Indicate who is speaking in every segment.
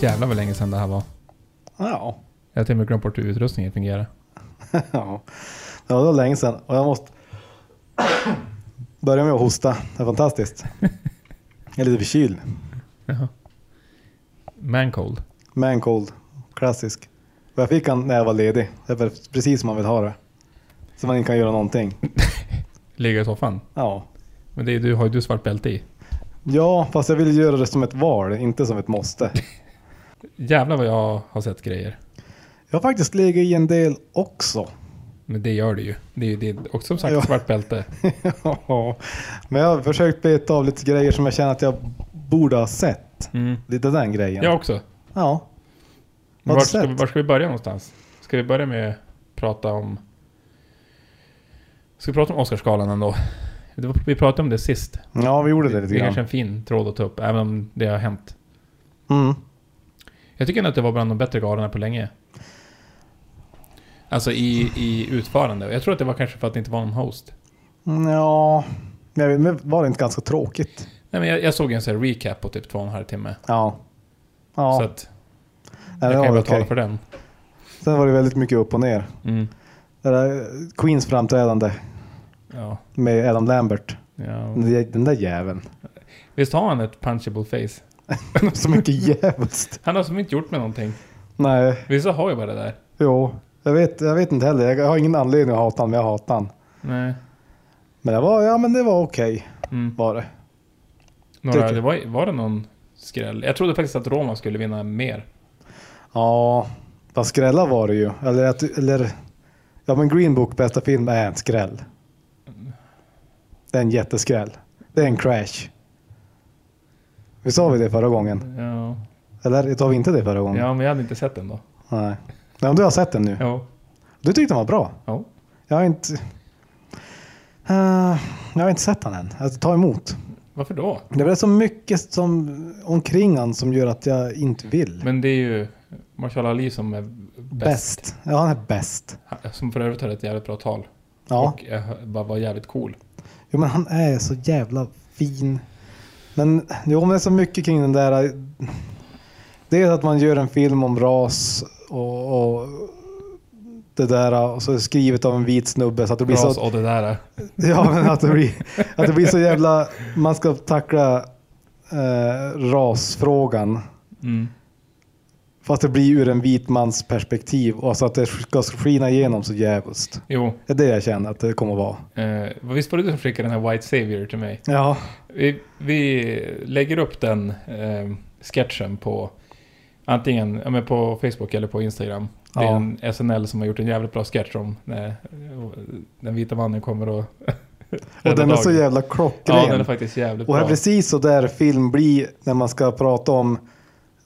Speaker 1: jävlar vad länge sedan det här var.
Speaker 2: Ja.
Speaker 1: Jag har till och med glömt bort hur utrustningen fungerar.
Speaker 2: ja. Det var länge sedan och jag måste börja med att hosta. Det är fantastiskt. Jag är lite förkyld.
Speaker 1: Jaha. Mancold.
Speaker 2: Man cold. Klassisk. Och jag fick han när jag var ledig. Det är väl precis som man vill ha det. Så man inte kan göra någonting.
Speaker 1: Ligga i soffan.
Speaker 2: Ja.
Speaker 1: Men det är, du har ju du svart bälte i.
Speaker 2: Ja, fast jag vill göra det som ett val, inte som ett måste.
Speaker 1: Jävlar vad jag har sett grejer.
Speaker 2: Jag har faktiskt legat i en del också.
Speaker 1: Men det gör det ju. Det är ju det är också som sagt
Speaker 2: Ja.
Speaker 1: svart bälte.
Speaker 2: Ja. Men jag har försökt beta av lite grejer som jag känner att jag borde ha sett.
Speaker 1: Mm.
Speaker 2: Lite den grejen.
Speaker 1: Jag också.
Speaker 2: Ja.
Speaker 1: Var
Speaker 2: Vad har du
Speaker 1: ska,
Speaker 2: sett?
Speaker 1: var ska vi börja någonstans? Ska vi börja med att prata om... Ska vi prata om Oscarsgalan ändå? Det var, vi pratade om det sist.
Speaker 2: Ja, vi gjorde det lite
Speaker 1: Det är kanske
Speaker 2: grann.
Speaker 1: en fin tråd att ta upp, även om det har hänt.
Speaker 2: Mm.
Speaker 1: Jag tycker ändå att det var bland de bättre galorna på länge. Alltså i, i utförande. Och Jag tror att det var kanske för att det inte var någon host.
Speaker 2: Ja, men jag vet- men var det inte ganska tråkigt?
Speaker 1: Nej men jag, jag såg en sån här recap på typ två och en halv timme.
Speaker 2: Ja.
Speaker 1: Så
Speaker 2: Ja,
Speaker 1: att
Speaker 2: nej,
Speaker 1: jag
Speaker 2: det
Speaker 1: kan ju
Speaker 2: var
Speaker 1: bara
Speaker 2: okej.
Speaker 1: tala för den. Mm.
Speaker 2: Sen var det väldigt mycket upp och ner. Det där Queens framträdande
Speaker 1: Ja,
Speaker 2: med Adam Lambert.
Speaker 1: ja.
Speaker 2: Den där- Den där jäveln.
Speaker 1: Visst har han ett punchable face?
Speaker 2: Så mycket jävligt.
Speaker 1: Han har som inte gjort med någonting.
Speaker 2: Nej,
Speaker 1: Vissa har ju bara det där.
Speaker 2: jo. Jag vet, jag vet inte heller. Jag har ingen anledning att hata honom, men jag hatar honom.
Speaker 1: Nej.
Speaker 2: Men det var, ja, men det var okej.
Speaker 1: Mm.
Speaker 2: Var det.
Speaker 1: Några,
Speaker 2: Tycker-
Speaker 1: det var, var det någon skräll? Jag trodde faktiskt att Roma skulle vinna mer.
Speaker 2: Ja, vad skrällar var det ju. Eller, att, eller ja men Green Book bästa film är en skräll. Det är en jätteskräll. Det är en crash. Vi sa vi det förra gången?
Speaker 1: Ja,
Speaker 2: Eller sa vi inte det förra gången?
Speaker 1: ja men jag hade inte sett den då.
Speaker 2: Nej. Nej, men du har sett den nu.
Speaker 1: Ja.
Speaker 2: Du tyckte den var bra.
Speaker 1: ja.
Speaker 2: Jag har inte... Eh, jag har inte sett den än. Alltså, ta emot.
Speaker 1: Varför då?
Speaker 2: Det är så mycket som, omkring han som gör att jag inte vill.
Speaker 1: Men det är ju Marshall Ali som är bäst.
Speaker 2: Bäst. Ja, han är bäst.
Speaker 1: Han- Som för övrigt har ett jävligt bra tal.
Speaker 2: Ja.
Speaker 1: Och är, bara var jävligt cool.
Speaker 2: Jo men han är så jävla fin. Men jo men det är så mycket kring den där. eh, Dels att man gör en film om ras och, och det där eh, och så är det skrivet av en vit snubbe så att det blir
Speaker 1: Bra
Speaker 2: så,
Speaker 1: och det där.
Speaker 2: ja, men att det blir, att det blir så jävla, man ska tackla eh, rasfrågan
Speaker 1: Mm.
Speaker 2: fast det blir ur en vit mans perspektiv och så att det ska skina igenom så jävligt.
Speaker 1: Jo,
Speaker 2: Det är det jag känner att det kommer att vara.
Speaker 1: eh, visst var det du som skickade den här White Savior till mig?
Speaker 2: Ja,
Speaker 1: Vi, vi lägger upp den eh, sketchen på antingen ja, men på Facebook eller på Instagram. Det är
Speaker 2: Ja.
Speaker 1: en SNL som har gjort en jävligt bra sketch om när eh, den vita mannen kommer och
Speaker 2: och den är så jävla klockren.
Speaker 1: Ja, den är faktiskt jävligt
Speaker 2: Och det är
Speaker 1: bra.
Speaker 2: precis så där film blir när man ska prata om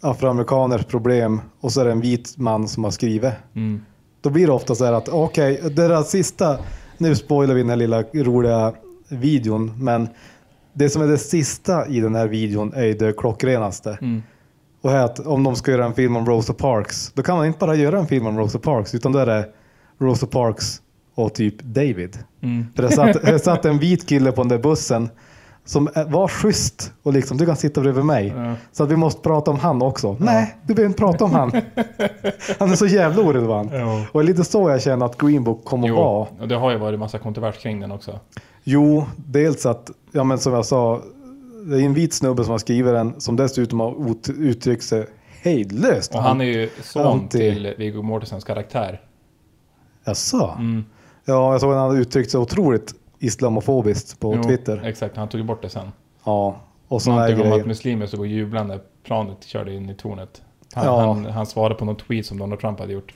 Speaker 2: afroamerikaners problem och så är det en vit man som har skrivit.
Speaker 1: Mm.
Speaker 2: Då blir det ofta så här att okej, det där sista, nu spoilar vi den här lilla roliga videon, men det som är det sista i den här videon är ju det klockrenaste.
Speaker 1: Mm.
Speaker 2: Och här att om de ska göra en film om Rosa Parks, då kan man inte bara göra en film om Rosa Parks, utan då är det Rosa Parks och typ David.
Speaker 1: Mm.
Speaker 2: För det satt, det satt en vit kille på den där bussen som var schysst och liksom, du kan sitta bredvid mig.
Speaker 1: Ja.
Speaker 2: Så att vi måste prata om han också. Nej, du behöver inte prata om han. Han är så jävla orelevant.
Speaker 1: Ja.
Speaker 2: Och lite så jag känner att Green Book kommer att
Speaker 1: Jo,
Speaker 2: vara.
Speaker 1: och det har ju varit massa kontrovers kring den också.
Speaker 2: Jo, dels att, ja men som jag sa, det är en vit snubbe som har skrivit den som dessutom har ut- uttryckt sig hejdlöst.
Speaker 1: Och han är ju son
Speaker 2: Anti-
Speaker 1: till Viggo Mortensens karaktär.
Speaker 2: Jaså?
Speaker 1: Mm.
Speaker 2: Ja, jag såg att han hade uttryckt sig otroligt islamofobiskt på
Speaker 1: Jo,
Speaker 2: Twitter.
Speaker 1: Exakt, han tog ju bort det sen.
Speaker 2: Ja, och sådana här
Speaker 1: Någonting om
Speaker 2: grejer.
Speaker 1: att muslimer så går jublande planet körde in i tornet. Han,
Speaker 2: Ja.
Speaker 1: han, han svarade på någon tweet som Donald Trump hade gjort.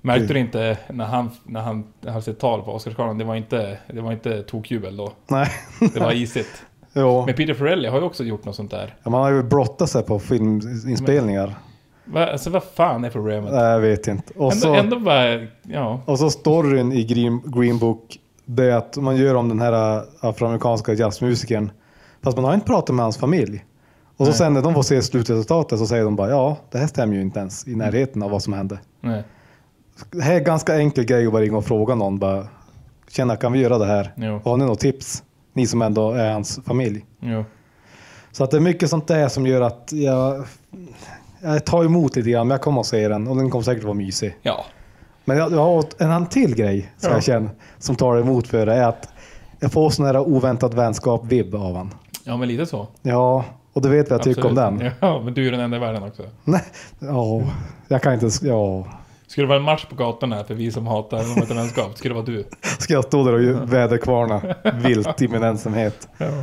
Speaker 1: Märkte du inte när han, när han höll sitt tal på Oscarsgalan, det var inte, det var inte tokjubel då.
Speaker 2: Nej,
Speaker 1: Det var isigt.
Speaker 2: jo.
Speaker 1: Men Peter Farrelly har ju också gjort något sånt där.
Speaker 2: Ja, man har ju brottat sig på filminspelningar.
Speaker 1: Va, alltså vad fan är problemet?
Speaker 2: Nej, jag vet inte. Och
Speaker 1: Ändå,
Speaker 2: så,
Speaker 1: ändå bara, ja.
Speaker 2: och så storyn i Green, Green Book, det är att man gör om den här äh, afroamerikanska jazzmusikern. Fast man har inte pratat med hans familj. Och så
Speaker 1: Nej.
Speaker 2: sen när de får se slutresultatet så säger de bara ja, det här stämmer ju inte ens i närheten av vad som hände.
Speaker 1: Nej,
Speaker 2: Det här är en ganska enkel grej att bara ringa och fråga någon. Bara, Tjena, kan vi göra det här?
Speaker 1: Jo.
Speaker 2: Har ni något tips? Ni som ändå är hans familj.
Speaker 1: jo.
Speaker 2: Så att det är mycket sånt där som gör att jag, Jag tar emot lite grann, men jag kommer att se den och den kommer säkert vara mysig.
Speaker 1: Ja.
Speaker 2: Men jag, jag har en annan till grej som
Speaker 1: Ja.
Speaker 2: jag känner som tar emot för det är att jag får sån här oväntad vänskap-vibb av han.
Speaker 1: Ja, men lite så.
Speaker 2: Ja, och du vet vad jag tycker om den.
Speaker 1: Ja, men du är ju den enda i världen också.
Speaker 2: Nej, ja, jag kan inte... Ja.
Speaker 1: Skulle det vara en match på gatan här för vi som hatar de heter vänskap, skulle det vara du.
Speaker 2: Ska jag stå där och ju- väderkvarna vilt i min ensamhet?
Speaker 1: Ja.
Speaker 2: Ja,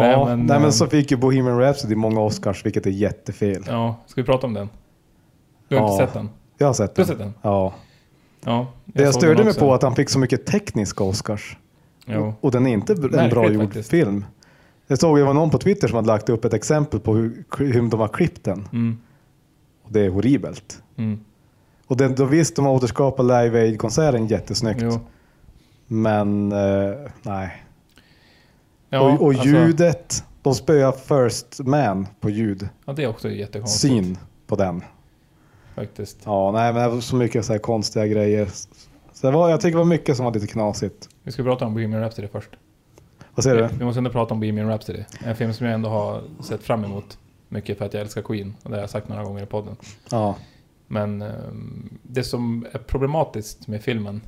Speaker 1: Nej,
Speaker 2: nej,
Speaker 1: men,
Speaker 2: men,
Speaker 1: ehm,
Speaker 2: så fick ju Bohemian Rhapsody många Oscars, vilket är jättefel.
Speaker 1: ja, ska vi prata om den? Du har inte
Speaker 2: Ja.
Speaker 1: sett den?
Speaker 2: Jag har sett
Speaker 1: Du
Speaker 2: den.
Speaker 1: har sett den?
Speaker 2: Ja.
Speaker 1: Ja.
Speaker 2: Det jag
Speaker 1: såg den
Speaker 2: störde mig
Speaker 1: också.
Speaker 2: på att han fick så mycket tekniska Oscars.
Speaker 1: Jo.
Speaker 2: Och den är inte en
Speaker 1: Märkligt
Speaker 2: bra gjord
Speaker 1: faktiskt.
Speaker 2: film. Jag såg det var någon på Twitter som hade lagt upp ett exempel på hur, hur de har klippt den.
Speaker 1: Mm,
Speaker 2: Och det är horribelt.
Speaker 1: mm,
Speaker 2: Och den, då visst, de har återskapat Live Aid-konserten jättesnyggt.
Speaker 1: jo.
Speaker 2: Men eh, nej.
Speaker 1: Ja,
Speaker 2: och och
Speaker 1: alltså,
Speaker 2: ljudet. De spöar First Man på ljud.
Speaker 1: Ja, typ. det är också jättekonstigt
Speaker 2: Syn på den.
Speaker 1: faktiskt.
Speaker 2: Ja, nej, men det var så mycket så här konstiga grejer. Så det var, jag tycker det var mycket som var lite knasigt.
Speaker 1: Vi ska prata om Bohemian Rhapsody först.
Speaker 2: Vad säger du?
Speaker 1: Vi måste ändå prata om Bohemian Rhapsody. En film som jag ändå har sett fram emot mycket för att jag älskar Queen. Och det har jag sagt några gånger i podden.
Speaker 2: Ja.
Speaker 1: Men ehm, det som är problematiskt med filmen,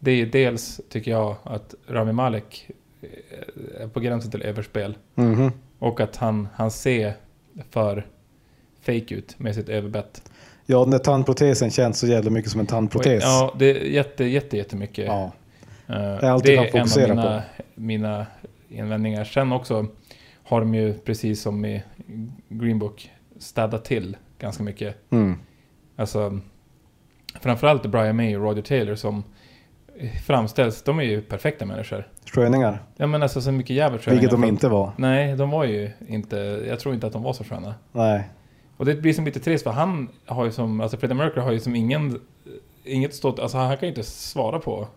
Speaker 1: det är ju dels, tycker jag, att Rami Malek eh, är på gränsen till överspel.
Speaker 2: Mhm.
Speaker 1: Och att han, han ser för fake ut med sitt överbett.
Speaker 2: Ja, den där tandprotesen känns så jävla mycket som en tandprotes.
Speaker 1: Ja, det är jätte, jätte, jättemycket.
Speaker 2: ja.
Speaker 1: Eh,
Speaker 2: är allt vi kan fokusera
Speaker 1: en av mina, mina invändningar. Sen också har de ju, precis som i Green Book, städat till ganska mycket.
Speaker 2: Mm.
Speaker 1: Alltså, framförallt Brian May och Roger Taylor som framställs, de är ju perfekta människor.
Speaker 2: Sköningar.
Speaker 1: Ja men alltså så mycket jävligt sköna.
Speaker 2: Vilket de inte var.
Speaker 1: Nej, de var ju inte, jag tror inte att de var så sköna.
Speaker 2: Nej.
Speaker 1: Och det blir som lite trist för han har ju som, alltså Freddie Mercury har ju som ingen, inget stått, alltså han kan ju inte svara på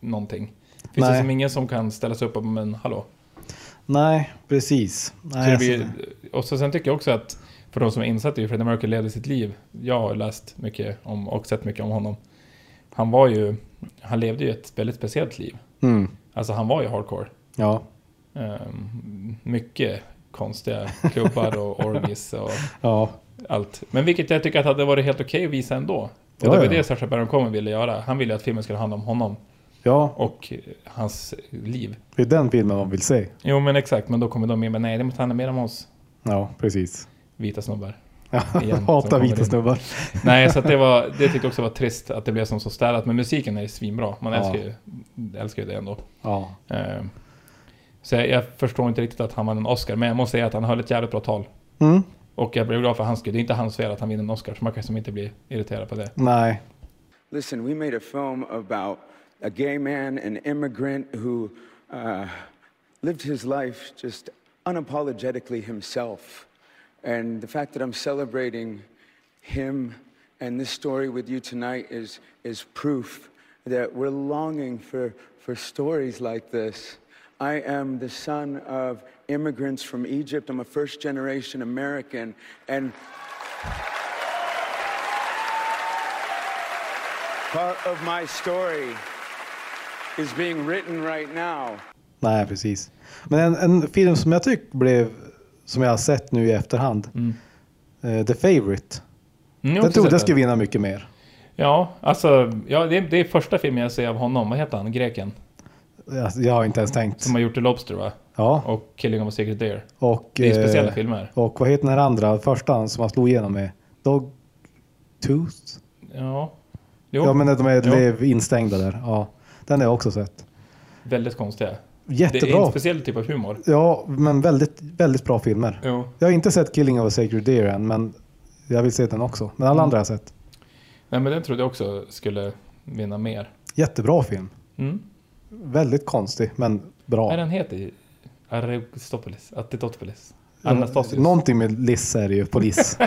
Speaker 1: någonting. Finns det
Speaker 2: Nej.
Speaker 1: som ingen som kan ställa sig upp och men hallå?
Speaker 2: Nej, precis.
Speaker 1: Så
Speaker 2: Nej,
Speaker 1: det
Speaker 2: alltså,
Speaker 1: blir, och så sen tycker jag också att, för de som är insatta i hur Freddie Mercury levde sitt liv, jag har läst mycket om och sett mycket om honom. Han var ju, han levde ju ett väldigt speciellt liv.
Speaker 2: Mm.
Speaker 1: Alltså han var ju hardcore.
Speaker 2: Ja.
Speaker 1: Ehm, mycket konstiga klubbar och orgies och
Speaker 2: Ja.
Speaker 1: allt. Men vilket jag tycker att hade varit helt okej att visa ändå. Och
Speaker 2: Ja,
Speaker 1: det var
Speaker 2: ja.
Speaker 1: det Sacha Baron Cohen ville göra. Han ville att filmen skulle handla om honom
Speaker 2: Ja,
Speaker 1: och hans liv.
Speaker 2: det är den filmen man vill se.
Speaker 1: Jo men exakt, men då kommer de in med nej det måste handla mer om oss
Speaker 2: Ja, precis.
Speaker 1: vita snubbar.
Speaker 2: Ja,
Speaker 1: Igen, som
Speaker 2: Hatar
Speaker 1: kommer in.
Speaker 2: vita snubbar.
Speaker 1: Nej, så att det, var, det tyckte jag också var trist att det blev som så städat. Men musiken är ju svinbra. Man
Speaker 2: Ja.
Speaker 1: älskar, ju, älskar ju det ändå.
Speaker 2: Ja.
Speaker 1: Ehm, Så jag, jag förstår inte riktigt att han vann en Oscar. Men jag måste säga att han höll ett jävligt bra tal.
Speaker 2: Mm.
Speaker 1: Och jag blev glad för hans skull. Det är inte hans fel att han vinner en Oscar. Så man kan som inte bli irriterad på det. Mm,
Speaker 2: Nej.
Speaker 3: Listen, we made a film about a gay man, an immigrant who uh, lived his life just unapologetically himself. And the fact that I'm celebrating him and this story with you tonight is, is proof that we're longing for, for stories like this. I am the son of immigrants from Egypt. I'm a first generation American. And part of my story is being written right now.
Speaker 2: Nej, precis. Men en, en film som jag tycker blev, som jag har sett nu i efterhand, eh, The Favourite.
Speaker 1: Mm, jag har
Speaker 2: Den
Speaker 1: också
Speaker 2: trodde
Speaker 1: sett
Speaker 2: jag skulle vinna mycket mer.
Speaker 1: Ja, alltså. Ja, det, är, det är första filmen jag ser av honom. Vad heter han? Greken?
Speaker 2: Jag, jag har inte ens tänkt.
Speaker 1: Som har gjort The Lobster va?
Speaker 2: Ja,
Speaker 1: Och Killing of a Secret Deer.
Speaker 2: och,
Speaker 1: Det är ju speciella
Speaker 2: eh,
Speaker 1: filmer.
Speaker 2: Och vad heter den här andra, första som han slog igenom med? Dog Tooth?
Speaker 1: Ja. Jo,
Speaker 2: Ja, men de
Speaker 1: Jo.
Speaker 2: är lev instängda där. Ja, den har jag också sett.
Speaker 1: väldigt konstiga. Det är en
Speaker 2: Jättebra.
Speaker 1: speciell typ av humor.
Speaker 2: Ja, men väldigt, väldigt bra filmer.
Speaker 1: Jo.
Speaker 2: Jag har inte sett Killing of a Sacred Deer än, men jag vill se den också. Men alla
Speaker 1: Mm.
Speaker 2: andra har jag sett.
Speaker 1: Nej, men den trodde jag också skulle vinna mer.
Speaker 2: Jättebra film.
Speaker 1: Mm.
Speaker 2: Väldigt konstig, men
Speaker 1: Vad är
Speaker 2: bra.
Speaker 1: den heter? Aristoteles? Attitotopoulos?
Speaker 2: Ja,
Speaker 1: Anastasius?
Speaker 2: Mm. Någonting med Liss är det ju, polis.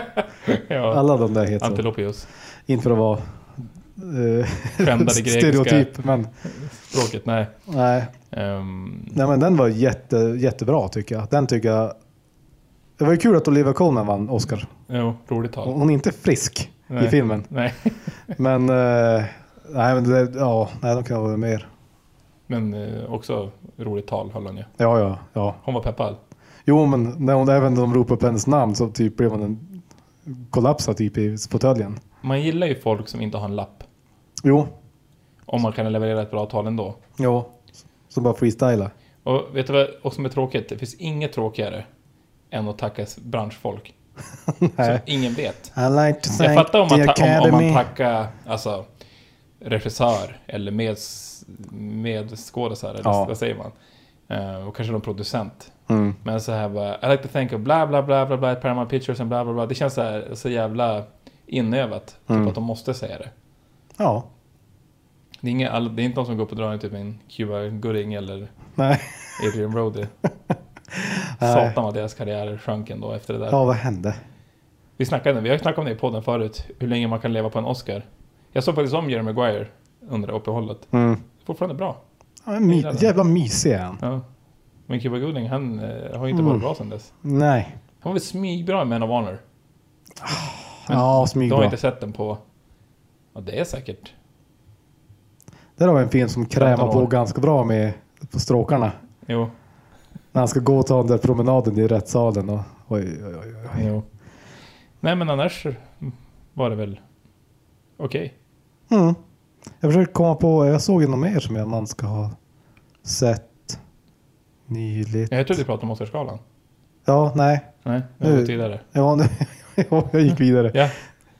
Speaker 1: ja.
Speaker 2: Alla de där heter så.
Speaker 1: Antilopios.
Speaker 2: Inte för att vara eh,
Speaker 1: Skändade grekiska
Speaker 2: stereotyp, men
Speaker 1: språket. Nej.
Speaker 2: nej.
Speaker 1: Ehm,
Speaker 2: nej men den var jätte, jättebra tycker jag. Den tycker jag... Det var ju kul att Olivia Colman vann Oscar.
Speaker 1: jo, roligt tal.
Speaker 2: Hon är inte frisk
Speaker 1: Nej.
Speaker 2: i filmen.
Speaker 1: Nej,
Speaker 2: Men, eh, nej, men det, ja, nej, de kan vara mer.
Speaker 1: men eh, också roligt tal höll hon ju.
Speaker 2: Ja, ja, ja.
Speaker 1: Hon var peppad.
Speaker 2: Jo, men när hon, även när de ropade upp hennes namn så typ blev man en kollapsar typ i fåtöljen.
Speaker 1: Man gillar ju folk som inte har en lapp.
Speaker 2: Jo,
Speaker 1: Om man kan leverera ett bra tal ändå.
Speaker 2: jo. Så bara freestyla.
Speaker 1: Och vet du vad och som är tråkigt? Det finns inget tråkigare än att tacka s- branschfolk. Som
Speaker 2: Nej.
Speaker 1: ingen vet.
Speaker 2: I like to
Speaker 1: Jag
Speaker 2: thank
Speaker 1: fattar om
Speaker 2: the
Speaker 1: man, ta- om, om
Speaker 2: academy.
Speaker 1: man tackar alltså, regissör eller med, medskådisar. Eller
Speaker 2: Ja.
Speaker 1: vad säger man? Eh, och kanske någon producent.
Speaker 2: mm.
Speaker 1: Men så här bara, I like to think of bla bla bla bla bla, Paramount Pictures and bla bla bla. Det känns så, här, så jävla inövat.
Speaker 2: Mm.
Speaker 1: Typ att de måste säga det.
Speaker 2: Ja.
Speaker 1: Det är, inga, all- det är inte någon som går upp och drar en typ en Cuba Gooding eller
Speaker 2: Nej.
Speaker 1: Adrian Brody.
Speaker 2: Nej.
Speaker 1: Satan vad deras karriärer sjönk ändå efter det där.
Speaker 2: Ja, vad hände?
Speaker 1: Vi, snackade, vi har ju snackat om det i podden förut, hur länge man kan leva på en Oscar. Jag såg faktiskt om Jerry Maguire under uppehållet.
Speaker 2: Mm.
Speaker 1: Fortfarande bra.
Speaker 2: Ja, en my-
Speaker 1: Gillar det.
Speaker 2: jävla mysig är han.
Speaker 1: Ja. Men Cuba Gooding, han eh, har ju inte
Speaker 2: Mm.
Speaker 1: varit bra sedan dess.
Speaker 2: Nej.
Speaker 1: Han var väl smygbra i Man of Honor. Men Du
Speaker 2: Ja,
Speaker 1: har
Speaker 2: smygbra.
Speaker 1: inte sett den på... Ja, det är säkert.
Speaker 2: Där har vi en film som krämar på
Speaker 1: år.
Speaker 2: ganska bra med på stråkarna.
Speaker 1: Jo.
Speaker 2: När han ska gå och ta den där promenaden i rättssalen. Och, oj, oj, oj, oj.
Speaker 1: jo. Nej, men annars var det väl okej.
Speaker 2: Mm. Jag försöker komma på, jag såg ju något mer som jag man ska ha sett nyligt.
Speaker 1: Ja, Jag trodde du pratade om Oscarsgalan.
Speaker 2: Ja, nej.
Speaker 1: Nej, nu har vi
Speaker 2: Nu-
Speaker 1: gått vidare.
Speaker 2: Ja, nu- ja, jag gick vidare.
Speaker 1: Ja.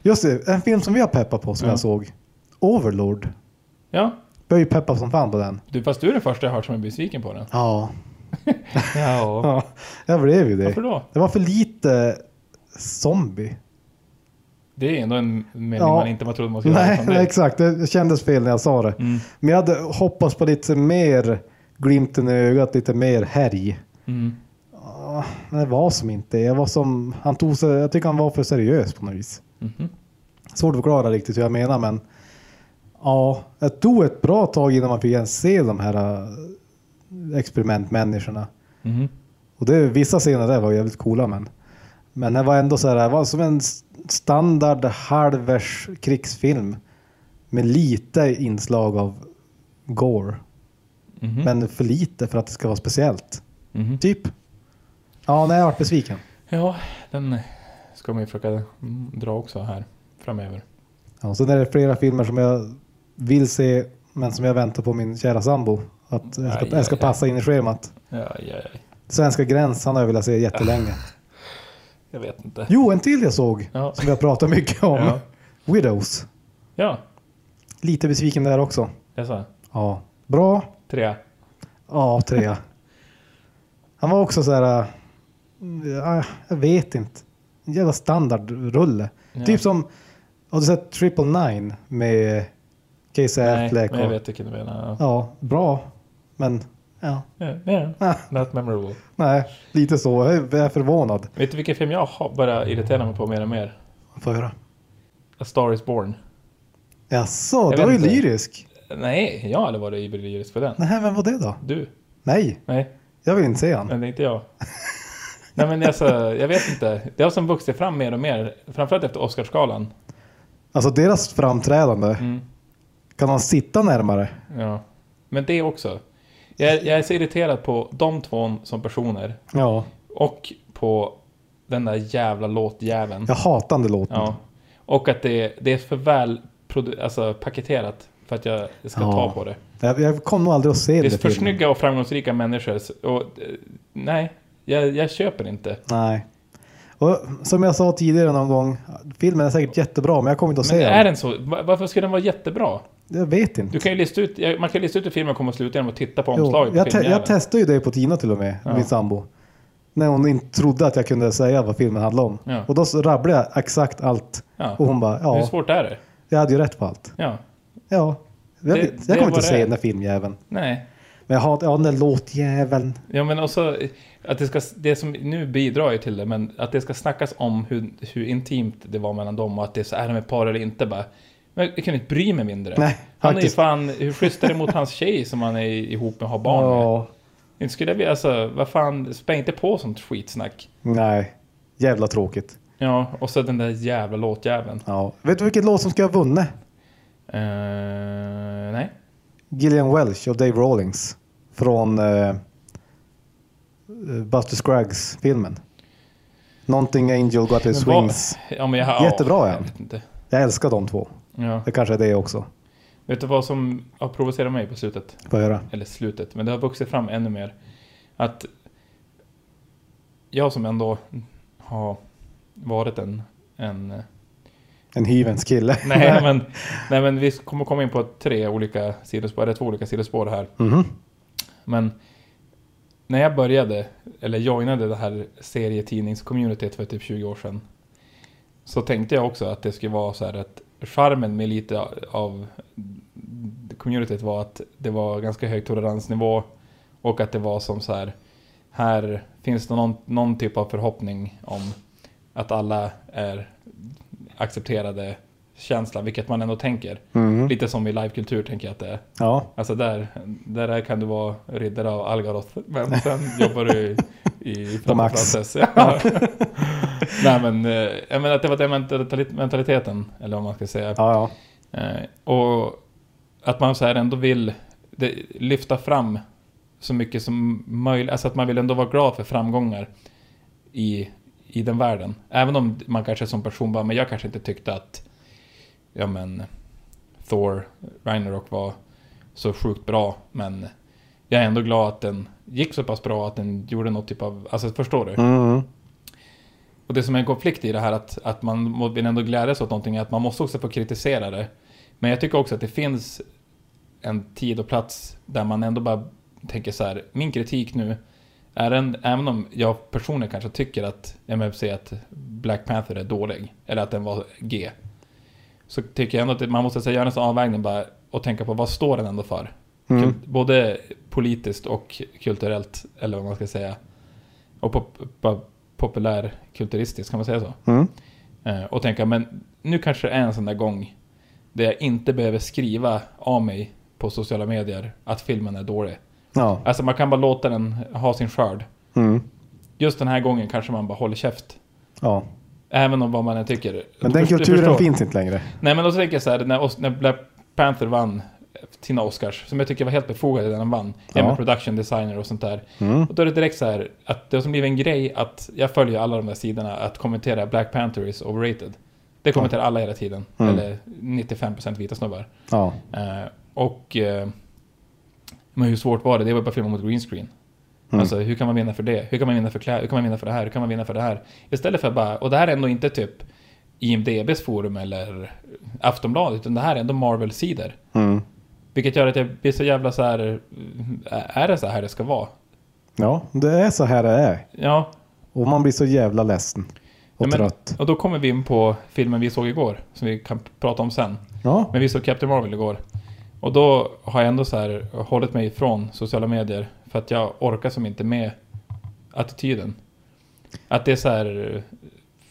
Speaker 2: Just det, en film som vi har peppat på som
Speaker 1: Ja.
Speaker 2: jag såg. Overlord.
Speaker 1: ja,
Speaker 2: Vi har ju peppat som fan på den.
Speaker 1: du, fast du är den första jag hört som är besviken på den.
Speaker 2: Ja.
Speaker 1: Ja.
Speaker 2: ja jag blev ju det.
Speaker 1: Varför då?
Speaker 2: Det var för lite zombie.
Speaker 1: Det är ändå en mening
Speaker 2: Ja.
Speaker 1: man inte man trodde man skulle höra
Speaker 2: Nej,
Speaker 1: från
Speaker 2: nej,
Speaker 1: dig.
Speaker 2: exakt. Det kändes fel när jag sa det.
Speaker 1: Mm.
Speaker 2: Men jag hade hoppats på lite mer glimten i ögat, lite mer härj.
Speaker 1: Mm.
Speaker 2: Ja, Men det var som inte. Jag var som, han tog sig, jag tycker han var för seriös på något vis.
Speaker 1: Mhm.
Speaker 2: Svårt att förklara riktigt hur jag menar men. Ja, det tog ett bra tag innan man fick ens se de här äh, experimentmänniskorna.
Speaker 1: Mhm.
Speaker 2: Och det, vissa scener där var jävligt coola men. Men det var ändå så här, det var som en s- standard halvers krigsfilm. Med lite inslag av gore.
Speaker 1: Mhm.
Speaker 2: Men för lite för att det ska vara speciellt.
Speaker 1: Mhm.
Speaker 2: Typ. Ja, nej jag vart besviken.
Speaker 1: Ja, den ska man ju försöka mm, dra också här framöver.
Speaker 2: Ja, sen är det flera filmer som jag vill se men som jag väntar på min kära sambo. Att jag ska,
Speaker 1: Aj,
Speaker 2: jag ska
Speaker 1: aj, aj.
Speaker 2: passa in i schemat.
Speaker 1: Ja, ja, ja.
Speaker 2: Svenska gränsen har jag velat se jättelänge.
Speaker 1: Jag vet inte.
Speaker 2: Jo, en till jag såg
Speaker 1: Ja.
Speaker 2: som vi har pratat mycket om.
Speaker 1: Ja.
Speaker 2: Widows.
Speaker 1: Ja,
Speaker 2: Lite besviken där också.
Speaker 1: jag sa
Speaker 2: Ja. Bra.
Speaker 1: tre.
Speaker 2: Ja, trea. Han var också så här... äh, ja, jag vet inte. En jävla standardrulle.
Speaker 1: Ja.
Speaker 2: Typ som... Har du sett Triple Nine med Casey
Speaker 1: Nej,
Speaker 2: Affleck?
Speaker 1: men jag
Speaker 2: och-
Speaker 1: vet vilken du menar. Ja.
Speaker 2: Ja, bra. Men ja,
Speaker 1: Ja, ja.
Speaker 2: Ah.
Speaker 1: Not memorable.
Speaker 2: nej, lite så. Jag är jag är förvånad.
Speaker 1: Vet du vilken film jag har börjat irritera mig på mer och mer?
Speaker 2: Får jag höra?
Speaker 1: A Star Is Born.
Speaker 2: Jaså,
Speaker 1: Jag
Speaker 2: du var ju
Speaker 1: vet inte.
Speaker 2: lyrisk.
Speaker 1: Nej, jag har aldrig varit iberisk för den.
Speaker 2: Nej, vem var det då?
Speaker 1: Du?
Speaker 2: Nej,
Speaker 1: Nej,
Speaker 2: jag vill inte se han.
Speaker 1: men det är inte jag. Nej men alltså, jag vet inte. Det har som vuxit fram mer och mer. Framförallt efter Oscarsgalan.
Speaker 2: Alltså deras framträdande.
Speaker 1: Mm.
Speaker 2: Kan han sitta närmare?
Speaker 1: Ja. Men det också. Jag är, jag är så irriterad på de två som personer.
Speaker 2: Ja.
Speaker 1: Och på den där jävla låtjäveln.
Speaker 2: Jag hatar den där låten.
Speaker 1: Ja. Och att det, det är för väl produ- alltså, paketerat för att jag ska
Speaker 2: Ja.
Speaker 1: ta på det.
Speaker 2: Jag, jag kommer nog aldrig att se
Speaker 1: Det är
Speaker 2: den där
Speaker 1: för
Speaker 2: filmen.
Speaker 1: snygga och framgångsrika människor. s- Och, eh, nej, jag, jag köper inte.
Speaker 2: Nej. Och som jag sa tidigare någon gång. Filmen är säkert jättebra men jag kommer inte att
Speaker 1: Men
Speaker 2: se
Speaker 1: är
Speaker 2: den.
Speaker 1: den så? Va- Varför ska den vara jättebra?
Speaker 2: Jag vet
Speaker 1: Du
Speaker 2: inte.
Speaker 1: kan ju lista ut, ja, man kan lista ut hur filmen kommer att sluta genom att titta på
Speaker 2: Jo,
Speaker 1: omslaget
Speaker 2: jag,
Speaker 1: på
Speaker 2: te- jag
Speaker 1: filmjäveln.
Speaker 2: testade ju det på Tina till och med,
Speaker 1: Ja.
Speaker 2: min sambo. När hon inte trodde att jag kunde säga vad filmen handlade om.
Speaker 1: Ja.
Speaker 2: Och då så rabblade jag exakt allt.
Speaker 1: Ja.
Speaker 2: Och hon bara,
Speaker 1: Hur
Speaker 2: ja,
Speaker 1: svårt är det?
Speaker 2: jag hade ju rätt på allt.
Speaker 1: Ja.
Speaker 2: Ja, jag,
Speaker 1: Det-
Speaker 2: vet-
Speaker 1: det
Speaker 2: jag kommer
Speaker 1: var
Speaker 2: inte
Speaker 1: det.
Speaker 2: att se den där filmjäveln.
Speaker 1: Nej.
Speaker 2: Men jag hatar, ja den där låtjäveln.
Speaker 1: Ja men också eh, att det ska, det som nu bidrar ju till det, men att det ska snackas om hur, hur intimt det var mellan dem och att det är så är de ett par eller inte bara. Men jag kan inte bry mig mindre.
Speaker 2: Nej,
Speaker 1: han
Speaker 2: faktiskt.
Speaker 1: är ju fan, hur schysst är det mot hans tjej som han är ihop med och har barn med?
Speaker 2: Ja,
Speaker 1: Inte skulle jag vilja, alltså, vad fan, spä inte på sånt skitsnack.
Speaker 2: nej. Jävla tråkigt.
Speaker 1: Ja, och så den där jävla låtjäveln.
Speaker 2: Ja. Vet du vilket låt som ska ha vunnit?
Speaker 1: Eh, nej.
Speaker 2: Gillian Welch och Dave Rawlings. eh, Från eh, Buster Scruggs-filmen. Någonting Angel Got His
Speaker 1: Men vad-
Speaker 2: Wings.
Speaker 1: Ja, men jag,
Speaker 2: Jättebra,
Speaker 1: ja.
Speaker 2: ja.
Speaker 1: Jag vet inte.
Speaker 2: Jag älskar de två.
Speaker 1: Ja.
Speaker 2: Det kanske är det också.
Speaker 1: Vet du vad som har provocerat mig på slutet?
Speaker 2: Får jag höra.
Speaker 1: eller slutet, men det har vuxit fram ännu mer. Att jag som ändå har varit en... en
Speaker 2: En hyvens kille.
Speaker 1: nej, men, nej, men vi kommer komma in på tre olika sidospår, eller två olika sidospår här.
Speaker 2: Mhm.
Speaker 1: Men när jag började, eller joinade det här serietidningscommunityt för typ 20 år sedan, så tänkte jag också att det skulle vara så här att charmen med lite av communityt var att det var ganska hög toleransnivå och att det var som så här, här finns det någon, någon typ av förhoppning om att alla är accepterade känslan, vilket man ändå tänker.
Speaker 2: Mhm.
Speaker 1: Lite som i livekultur tänker jag att det är.
Speaker 2: Ja.
Speaker 1: Alltså där, där kan du vara riddare av Algaroth, men sen jobbar du i, i
Speaker 2: De ax.
Speaker 1: Frances. Ja. Nej men, eh, jag menar att det var den mentali- mentaliteten, eller vad man ska säga.
Speaker 2: Ja, ja.
Speaker 1: Eh, och att man så här ändå vill det, lyfta fram så mycket som möjligt, alltså att man vill ändå vara glad för framgångar i, i den världen. Även om man kanske som person bara, men jag kanske inte tyckte att ja men Thor Ragnarok var så sjukt bra, men jag är ändå glad att den gick så pass bra att den gjorde något typ av, alltså förstår du?
Speaker 2: Mhm.
Speaker 1: Och det som är en konflikt i det här att, att man må- vill ändå glädjas åt någonting är att man måste också få kritisera det. Men jag tycker också att det finns en tid och plats där man ändå bara tänker så här, min kritik nu är en, även om jag personligen kanske tycker att MFC att Black Panther är dålig, eller att den var G, så tycker jag ändå att man måste så här göra en sån avvägning bara och tänka på vad står den ändå för?
Speaker 2: Mm.
Speaker 1: Kul- Både politiskt och kulturellt, eller vad man ska säga. Och pop, pop, populärkulturistiskt, kan man säga så?
Speaker 2: Mm.
Speaker 1: Eh, Och tänka, men nu kanske det är en sån där gång där jag inte behöver skriva av mig på sociala medier att filmen är dålig.
Speaker 2: Ja.
Speaker 1: Alltså man kan bara låta den ha sin skörd.
Speaker 2: Mm.
Speaker 1: Just den här gången kanske man bara håller käft.
Speaker 2: ja.
Speaker 1: Även om vad man än tycker.
Speaker 2: Men
Speaker 1: Du
Speaker 2: den
Speaker 1: först- du
Speaker 2: kulturen
Speaker 1: förstår.
Speaker 2: finns inte längre.
Speaker 1: Nej men då tänker jag så här, när, Os- när Black Panther vann sina Oscars, som jag tycker var helt befogade när den vann, ja.
Speaker 2: Ja.
Speaker 1: med production designer och sånt där.
Speaker 2: Mm.
Speaker 1: Och då är det direkt så här, att det har som blivit en grej att jag följer alla de där sidorna att kommentera Black Panther is overrated. Det kommenterar alla hela tiden,
Speaker 2: Mm.
Speaker 1: eller 95% vita snubbar.
Speaker 2: Ja.
Speaker 1: Eh, och... Eh, men hur svårt var det? Det var bara filma mot green screen.
Speaker 2: Mm.
Speaker 1: Alltså hur kan man vinna för det? Hur kan man vinna för kläder? Hur kan man vinna för det här? Hur kan man vinna för det här? Istället för bara, och det här är ändå inte typ IMDBs forum eller Aftonbladet, utan det här är ändå Marvel-sidor.
Speaker 2: Mm.
Speaker 1: Vilket gör att jag blir så jävla så här, mm, är det så här det ska vara?
Speaker 2: Ja, det är så här det är.
Speaker 1: Ja,
Speaker 2: Och man blir så jävla ledsen. Och
Speaker 1: Ja, men-
Speaker 2: trött.
Speaker 1: och då kommer vi in på filmen vi såg igår, som vi kan prata om sen.
Speaker 2: Ja.
Speaker 1: Men vi såg Captain Marvel igår. Och då har jag ändå så här hållit mig ifrån sociala medier. För att jag orkar som inte med attityden. Att det är så här...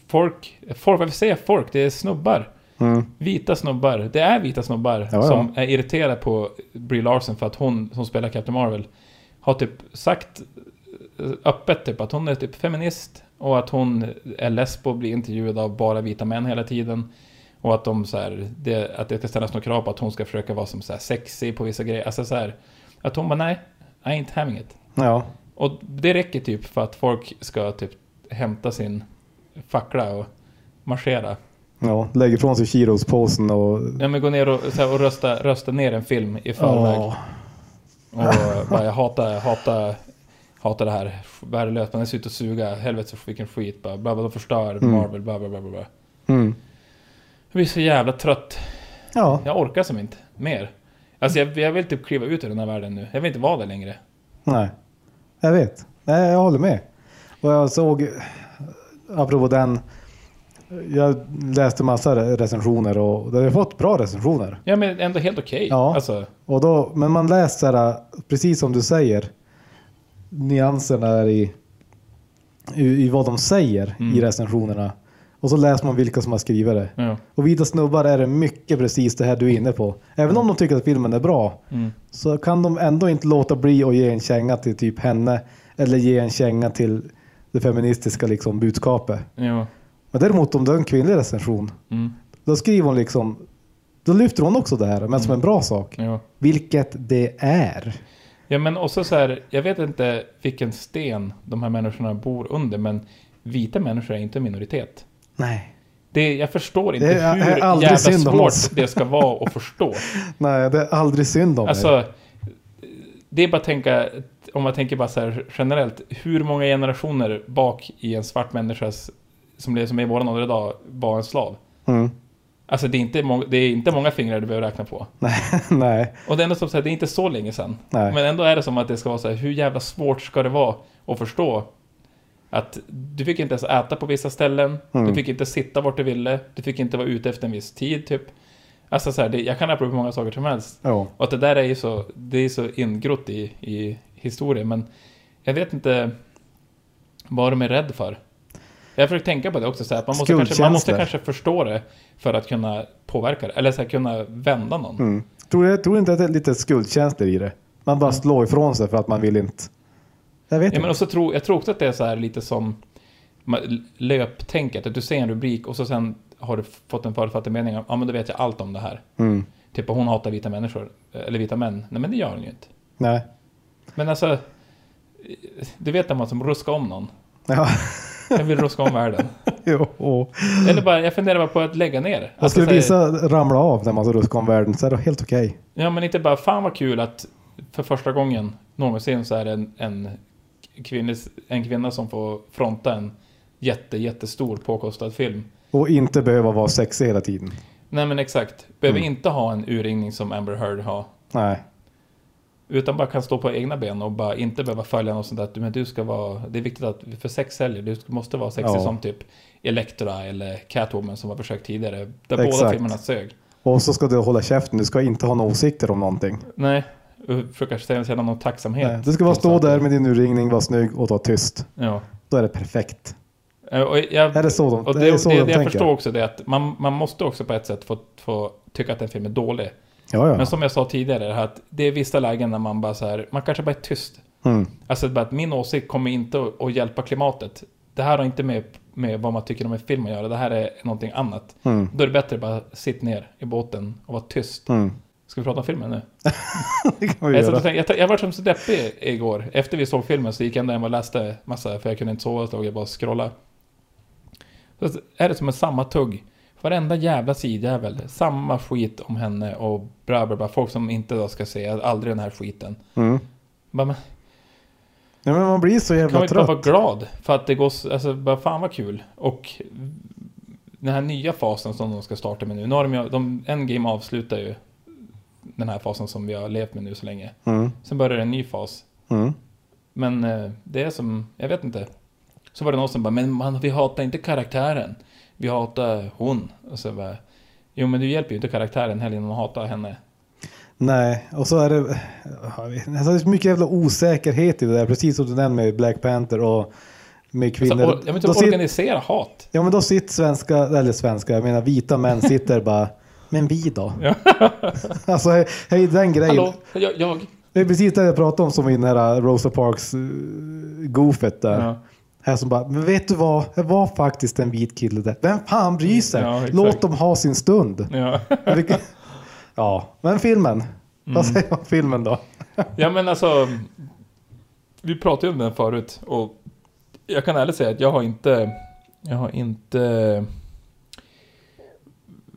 Speaker 1: Folk, folk, varför säger jag folk? Det är snubbar.
Speaker 2: Mm.
Speaker 1: Vita snubbar. Det är vita snubbar
Speaker 2: Ja, ja.
Speaker 1: som är irriterade på Brie Larson för att hon som spelar Captain Marvel har typ sagt eh, öppet typ att hon är typ feminist och att hon är lesbo och blir intervjuad av bara vita män hela tiden. Och att de så här, det, att det ska ställas några krav på att hon ska försöka vara som så här sexy på vissa grejer. Alltså så här, att hon bara nej, I ain't having it.
Speaker 2: Ja.
Speaker 1: Och det räcker typ för att folk ska typ hämta sin fackla och marschera.
Speaker 2: Ja. Lägger ifrån sig kilospåsen och...
Speaker 1: Ja men gå ner och, så här, och rösta, rösta ner en film i förväg.
Speaker 2: Ja.
Speaker 1: Och bara jag hatar, hatar, hatar det här. Värdelöst, man är ute och suga. Helvete vilken skit. Bara, bara, de förstör Marvel, bla bla bla bla, bla.
Speaker 2: Mm.
Speaker 1: Jag blir så jävla trött.
Speaker 2: Ja.
Speaker 1: Jag orkar som inte mer. Alltså jag, jag vill typ kliva ut ur den här världen nu. Jag vill inte vara där längre.
Speaker 2: Nej. Jag vet. Nej, jag håller med. Och jag såg, apropå den, jag läste massa re- recensioner och det har fått bra recensioner.
Speaker 1: Ja men ändå helt okej.
Speaker 2: Ja.
Speaker 1: Alltså,
Speaker 2: Och då, men man läser så här, precis som du säger, nyanserna där i, i, i vad de säger
Speaker 1: Mm.
Speaker 2: i recensionerna. Och så läser man vilka som har skrivit det.
Speaker 1: ja.
Speaker 2: Och vita snubbar är det mycket precis det här du är inne på. Även om de tycker att filmen är bra
Speaker 1: Mm.
Speaker 2: så kan de ändå inte låta bli att ge en känga till typ henne eller ge en känga till det feministiska liksom, budskapet.
Speaker 1: Ja.
Speaker 2: Men däremot om det är en kvinnlig recension,
Speaker 1: Mm.
Speaker 2: då skriver hon liksom, då lyfter hon också det här, men som en bra sak.
Speaker 1: Ja.
Speaker 2: Vilket det är.
Speaker 1: Ja men också så här, jag vet inte vilken sten de här människorna bor under men vita människor är inte en minoritet.
Speaker 2: Nej.
Speaker 1: Det, jag förstår inte
Speaker 2: Det är-
Speaker 1: hur
Speaker 2: är aldrig
Speaker 1: jävla
Speaker 2: synd om oss.
Speaker 1: svårt det ska vara att förstå.
Speaker 2: Nej, det är aldrig synd om er.
Speaker 1: Alltså, det är bara att tänka, om man tänker bara så här generellt, hur många generationer bak i en svart människas, som det som är i våran ålder idag, var en slav?
Speaker 2: Mm.
Speaker 1: Alltså det är inte, må- det är inte många fingrar du behöver räkna på.
Speaker 2: Nej, nej.
Speaker 1: Och det är ändå som sagt, det är inte så länge sedan.
Speaker 2: Nej.
Speaker 1: Men ändå är det som att det ska vara så här, hur jävla svårt ska det vara att förstå att du fick inte ens äta på vissa ställen,
Speaker 2: Mm.
Speaker 1: du fick inte sitta vart du ville, du fick inte vara ute efter en viss tid typ. Alltså så här, det, jag kan rabbla upp hur många saker som helst.
Speaker 2: Jo.
Speaker 1: Och att det där är ju så, det är så ingrott i, i historien, men jag vet inte vad de är rädd för. Jag försöker tänka på det också, så här, att man måste, kanske, man måste
Speaker 2: Skuldkänslor.
Speaker 1: kanske förstå det för att kunna påverka det, eller så här, kunna vända någon.
Speaker 2: Mm. Tror du tror du inte att det är lite skuldkänslor i det? Man bara slår ifrån sig för att man vill inte. Jag vet
Speaker 1: Ja, men
Speaker 2: inte.
Speaker 1: också tro, jag tror också att det är så här lite som ma- löptänket, att du ser en rubrik och så sen har du fått en förutfattad mening, ja men då vet jag allt om det här.
Speaker 2: Mm.
Speaker 1: Typ hon hatar vita människor, eh, eller vita män. Nej men det gör hon ju inte.
Speaker 2: Nej.
Speaker 1: Men alltså, du vet när man som ruskar om någon.
Speaker 2: Ja,
Speaker 1: Jag vill ruska om världen.
Speaker 2: jo.
Speaker 1: Eller bara, jag funderar bara på att lägga ner. Alltså,
Speaker 2: Jag skulle
Speaker 1: så här,
Speaker 2: visa ramla av när man så ruskar om världen så är det helt okej.
Speaker 1: Ja men inte bara, fan vad kul att för första gången någonsin så är det en, en, kvinna, en kvinna som får fronta en jätte, jättestor påkostad film.
Speaker 2: Och inte behöva vara sexig hela tiden.
Speaker 1: Nej men exakt. Behöver
Speaker 2: Mm.
Speaker 1: inte ha en urringning som Amber Heard har.
Speaker 2: Nej.
Speaker 1: Utan bara kan stå på egna ben och bara inte behöva följa något sånt där att men du ska vara, det är viktigt att, för sex säljer, du måste vara sexig
Speaker 2: Ja.
Speaker 1: som typ Elektra eller Catwoman som har försökt tidigare. Där båda
Speaker 2: Exakt.
Speaker 1: filmerna sög.
Speaker 2: Och så ska du hålla käften. Du ska inte ha några åsikter om någonting.
Speaker 1: Nej, uh, och försöka säga sedan någon tacksamhet.
Speaker 2: Nej. Du ska bara
Speaker 1: trots
Speaker 2: stå
Speaker 1: allt.
Speaker 2: där med din urringning, vara snygg och ta tyst.
Speaker 1: Ja.
Speaker 2: Då är det perfekt.
Speaker 1: Eh, Och jag,
Speaker 2: Är det så de,
Speaker 1: och
Speaker 2: är
Speaker 1: det,
Speaker 2: så
Speaker 1: det,
Speaker 2: de
Speaker 1: det jag
Speaker 2: tänker?
Speaker 1: förstår också det är att man, man måste också på ett sätt få, få tycka att en film är dålig.
Speaker 2: Ja, ja.
Speaker 1: Men som jag sa tidigare, det här att det är vissa lägen när man bara så här, man kanske bara är tyst.
Speaker 2: Mm.
Speaker 1: Alltså bara att min åsikt kommer inte att- att hjälpa klimatet. Det här har inte med, med vad man tycker om en film att göra. Det här är någonting annat.
Speaker 2: Mm.
Speaker 1: Då är det bättre att bara sitta ner i båten och vara tyst.
Speaker 2: Mm.
Speaker 1: Ska vi prata om filmen nu?
Speaker 2: Det kan vi
Speaker 1: Jag, satt
Speaker 2: göra.
Speaker 1: och tänkte, jag, t- jag var som så deppig igår. Efter vi såg filmen så gick jag ändå hem och läste massa, för jag kunde inte sova ett tag. Jag bara scrollade. Så är det som en samma tugg. Varenda jävla sidjävel. Samma skit om henne och bla bla bla. Folk som inte då ska se aldrig den här skiten.
Speaker 2: Mm.
Speaker 1: Bara, men,
Speaker 2: Ja, men man blir så
Speaker 1: Kan
Speaker 2: jävla
Speaker 1: man inte bara
Speaker 2: trött.
Speaker 1: vara glad för att det går, så- alltså bara fan vad kul. Och den här nya fasen som de ska starta med nu, nu har de, ju- de Endgame avslutar ju den här fasen som vi har levt med nu så länge.
Speaker 2: Mm.
Speaker 1: Sen börjar en ny fas.
Speaker 2: Mm.
Speaker 1: Men eh, det är som, jag vet inte. Så var det någon som bara, men man, vi hatar inte karaktären. Vi hatar hon. Och så bara, jo men du hjälper ju inte karaktären heller genom att hata henne.
Speaker 2: Nej, och så är det, alltså, det är så mycket jävla osäkerhet i det där. Precis som du nämnde med Black Panther och med
Speaker 1: Alltså,
Speaker 2: kvinnor.
Speaker 1: or, jag menar,
Speaker 2: Då sit-
Speaker 1: organisera hat.
Speaker 2: ja men då sitter svenska, eller svenska, jag menar vita män sitter bara, men vi då?
Speaker 1: Ja.
Speaker 2: alltså hej, hej den grejen.
Speaker 1: Hallå, jag, jag.
Speaker 2: Det är precis det jag pratade om som var i den här Rosa Parks eh, goofet där.
Speaker 1: Ja.
Speaker 2: Här som bara, men vet du vad, det var faktiskt en vit kille där. Vem fan bryr sig?
Speaker 1: Ja, exakt.
Speaker 2: Låt dem ha sin stund.
Speaker 1: Ja.
Speaker 2: Vilket- ja, men filmen. Vad
Speaker 1: Mm.
Speaker 2: säger jag om filmen då?
Speaker 1: Ja men alltså Vi pratade ju om den förut och Jag kan ärligt säga att jag har inte Jag har inte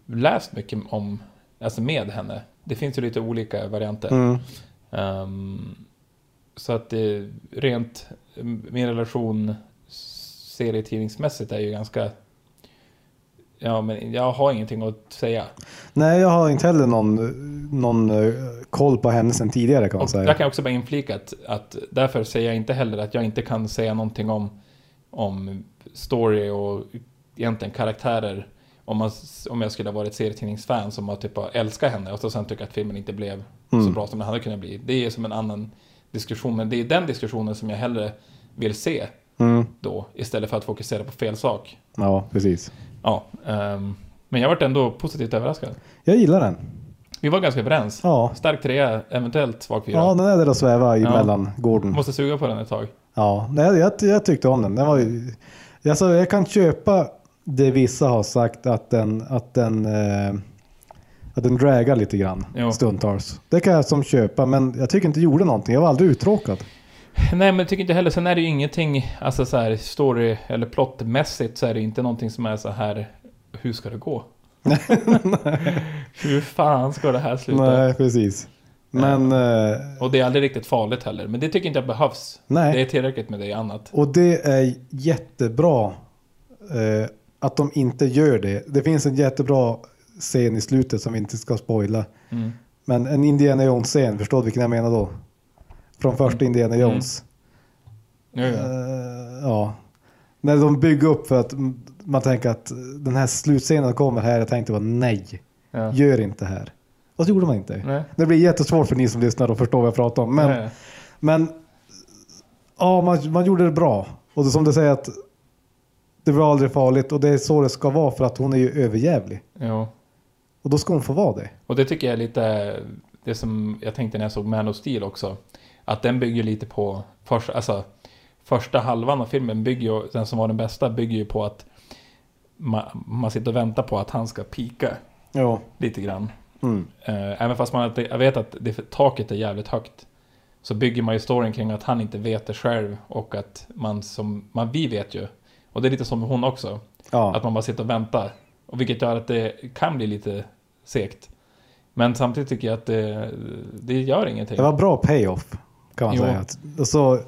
Speaker 1: Läst mycket om Alltså med henne Det finns ju lite olika varianter Ehm, Så att det rent Min relation Serietidningsmässigt är ju ganska Ja men jag har ingenting att säga
Speaker 2: Nej, jag har inte heller någon, någon eh, koll på henne sen tidigare kan man
Speaker 1: Och
Speaker 2: säga.
Speaker 1: där kan jag också bara inflika att, att därför säger jag inte heller att jag inte kan säga någonting om, om story och egentligen karaktärer. Om, man, s- om jag skulle ha varit serietidningsfan som har typ bara älskat henne och så sen tycker att filmen inte blev så
Speaker 2: Mm.
Speaker 1: bra som den hade kunnat bli. Det är som en annan diskussion, men det är den diskussionen som jag hellre vill se
Speaker 2: Mm.
Speaker 1: då istället för att fokusera på fel sak.
Speaker 2: Ja, precis.
Speaker 1: Ja, ehm, men jag varit ändå positivt överraskad.
Speaker 2: Jag gillar den.
Speaker 1: Vi var ganska överens.
Speaker 2: Ja,
Speaker 1: Stark trea, eventuellt svag fyra.
Speaker 2: ja den är där och svävar i
Speaker 1: Ja.
Speaker 2: mellangården.
Speaker 1: Måste suga på den ett tag.
Speaker 2: Ja, nej, jag, jag tyckte om den. den var ju, alltså, jag kan köpa det vissa har sagt att den, att den, eh, att den dragar lite grann
Speaker 1: Jo. Typ
Speaker 2: stundtals. Det kan jag som köpa, men jag tycker inte det gjorde någonting. Jag var aldrig uttråkad.
Speaker 1: Nej, men tycker inte heller. Sen är det ju ingenting, alltså så här story eller plottmässigt så är det inte någonting som är så här, hur ska det gå? hur fan ska det här sluta?
Speaker 2: Nej, precis. Men... eh,
Speaker 1: Och det är aldrig riktigt farligt heller, men det tycker inte jag behövs.
Speaker 2: nej.
Speaker 1: Det är tillräckligt med det i annat.
Speaker 2: Och det är jättebra eh, att de inte gör det. Det finns en jättebra scen i slutet som vi inte ska spoila.
Speaker 1: Mm.
Speaker 2: Men en Indiana Jones-scen, förstår du vilken jag menar då? Från första Indiana Jones.
Speaker 1: Mm. Ja, ja.
Speaker 2: Eh, ja. När de bygger upp för att mm, man tänker att eh, den här slutscenen kommer här. Jag tänkte bara nej,
Speaker 1: Ja.
Speaker 2: gör inte här. Och så gjorde man inte.
Speaker 1: Nej.
Speaker 2: Det blir jättesvårt för ni som lyssnar att förstå vad jag pratar om. Men
Speaker 1: Ja, ja.
Speaker 2: men ja, man, man gjorde det bra. Och det, som du säger att det var aldrig farligt och det är så det ska vara för att hon är ju överjävlig.
Speaker 1: Ja.
Speaker 2: Och då ska hon få vara det.
Speaker 1: Och det tycker jag är lite det som jag tänkte när jag såg Man of Steel också. Att den bygger lite på, först, alltså, första halvan av filmen bygger ju, den som var den bästa bygger ju på att man, man sitter och väntar på att han ska pika
Speaker 2: Ja.
Speaker 1: lite grann.
Speaker 2: Mm.
Speaker 1: Eh, även fast man inte, jag vet att det, taket är jävligt högt. Så bygger man ju storyn kring att han inte vet det själv och att man som, man, vi vet ju. Och det är lite som med hon också.
Speaker 2: Ja.
Speaker 1: Att man bara sitter och väntar. Och vilket gör att det kan bli lite segt. Men samtidigt tycker jag att det, det gör ingenting.
Speaker 2: Det var bra payoff kan man
Speaker 1: Jo.
Speaker 2: säga. Att- Så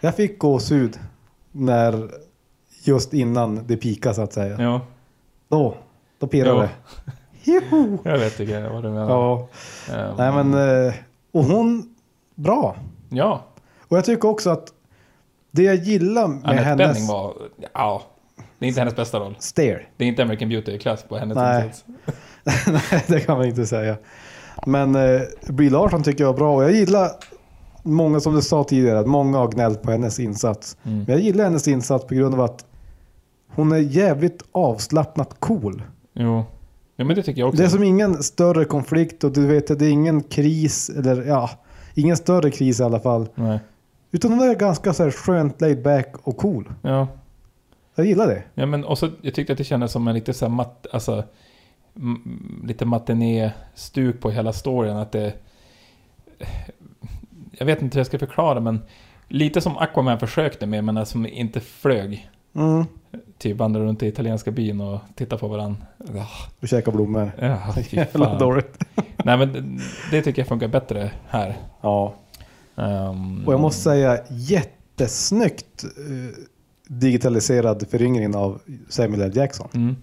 Speaker 2: jag fick gåshud när just innan det pika så att säga.
Speaker 1: Ja,
Speaker 2: Då, då pirrar
Speaker 1: Jo.
Speaker 2: det. Joho!
Speaker 1: jag vet inte vad du menar.
Speaker 2: Ja.
Speaker 1: Ehm,
Speaker 2: Nej men, eh, och hon, bra.
Speaker 1: Ja,
Speaker 2: Och jag tycker också att det jag gillar med
Speaker 1: Annette
Speaker 2: hennes...
Speaker 1: Bening var... Ja, det är inte hennes bästa roll.
Speaker 2: Stare.
Speaker 1: Det är inte American Beauty-klass på hennes
Speaker 2: Nej.
Speaker 1: insats.
Speaker 2: Nej, det kan man inte säga. Men eh, Brie Larson tycker jag är bra och jag gillar många som du sa tidigare, att många har gnällt på hennes insats.
Speaker 1: Mm.
Speaker 2: Men jag gillar hennes insats på grund av att hon är jävligt avslappnat cool.
Speaker 1: Jo. Ja, men det tycker jag också.
Speaker 2: Det är som ingen större konflikt och du vet, det är ingen kris eller ja, ingen större kris i alla fall.
Speaker 1: Nej.
Speaker 2: Utan hon är ganska så här, skönt laid back och cool.
Speaker 1: Ja.
Speaker 2: Jag gillar det.
Speaker 1: Ja, men också, jag tyckte att det kändes som en lite så här matt, alltså, m- lite matiné-stuk på hela storyn. Att det, jag vet inte hur jag ska förklara, men lite som Aquaman försökte med, men som inte flög.
Speaker 2: Mm.
Speaker 1: Typ vandrade runt i italienska byn och tittade på varandra. Ja,
Speaker 2: Och käka blommor.
Speaker 1: ja, fy
Speaker 2: Jävla
Speaker 1: fan.
Speaker 2: dåligt.
Speaker 1: Nej, men det- det tycker jag funkar bättre här.
Speaker 2: Ja.
Speaker 1: Ehm,
Speaker 2: Och jag måste säga jättesnyggt eh, digitaliserad föryngring av Samuel L. Jackson.
Speaker 1: Mm,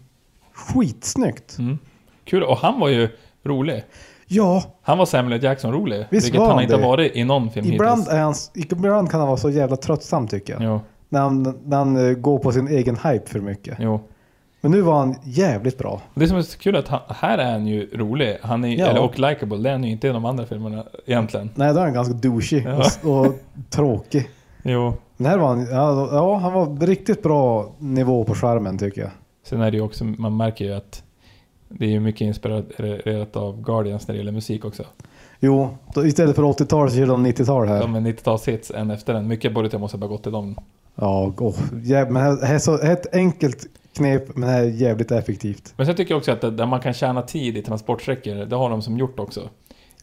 Speaker 2: Skitsnyggt!
Speaker 1: mm. Kul, och han var ju rolig.
Speaker 2: Ja,
Speaker 1: Han var Samuel L. Jackson rolig.
Speaker 2: Visst
Speaker 1: vilket
Speaker 2: var
Speaker 1: han
Speaker 2: han
Speaker 1: inte
Speaker 2: det?
Speaker 1: har varit i någon film
Speaker 2: ibland,
Speaker 1: hittills.
Speaker 2: är han, ibland kan han vara så jävla tröttsam tycker jag.
Speaker 1: Jo,
Speaker 2: När han, när han eh, går på sin egen hype för mycket.
Speaker 1: jo.
Speaker 2: Men nu var han jävligt bra.
Speaker 1: Och Det som är så kul är att han, här är han ju rolig han är,
Speaker 2: Ja.
Speaker 1: eller, och likable. Det är han ju inte i de andra filmerna egentligen.
Speaker 2: Nej, då är han ganska douchig
Speaker 1: Ja.
Speaker 2: och, s- och tråkig.
Speaker 1: Jo.
Speaker 2: Den här var han, ja, ja, han var riktigt bra nivå på charmen tycker jag.
Speaker 1: Sen är det ju också, man märker ju att det är ju mycket inspirerat av Guardians när det gäller musik också.
Speaker 2: Jo, då, istället för 80-tal så kör de 90-tal här.
Speaker 1: De är 90-talshits en efter en. Mycket borde jag måste bara gått till dem.
Speaker 2: Ja, åh, jäv, men här, här är så, här är ett enkelt knep men det här är jävligt effektivt.
Speaker 1: Men sen tycker jag också att det- där man kan tjäna tid i transportsträckor, det har de som gjort också.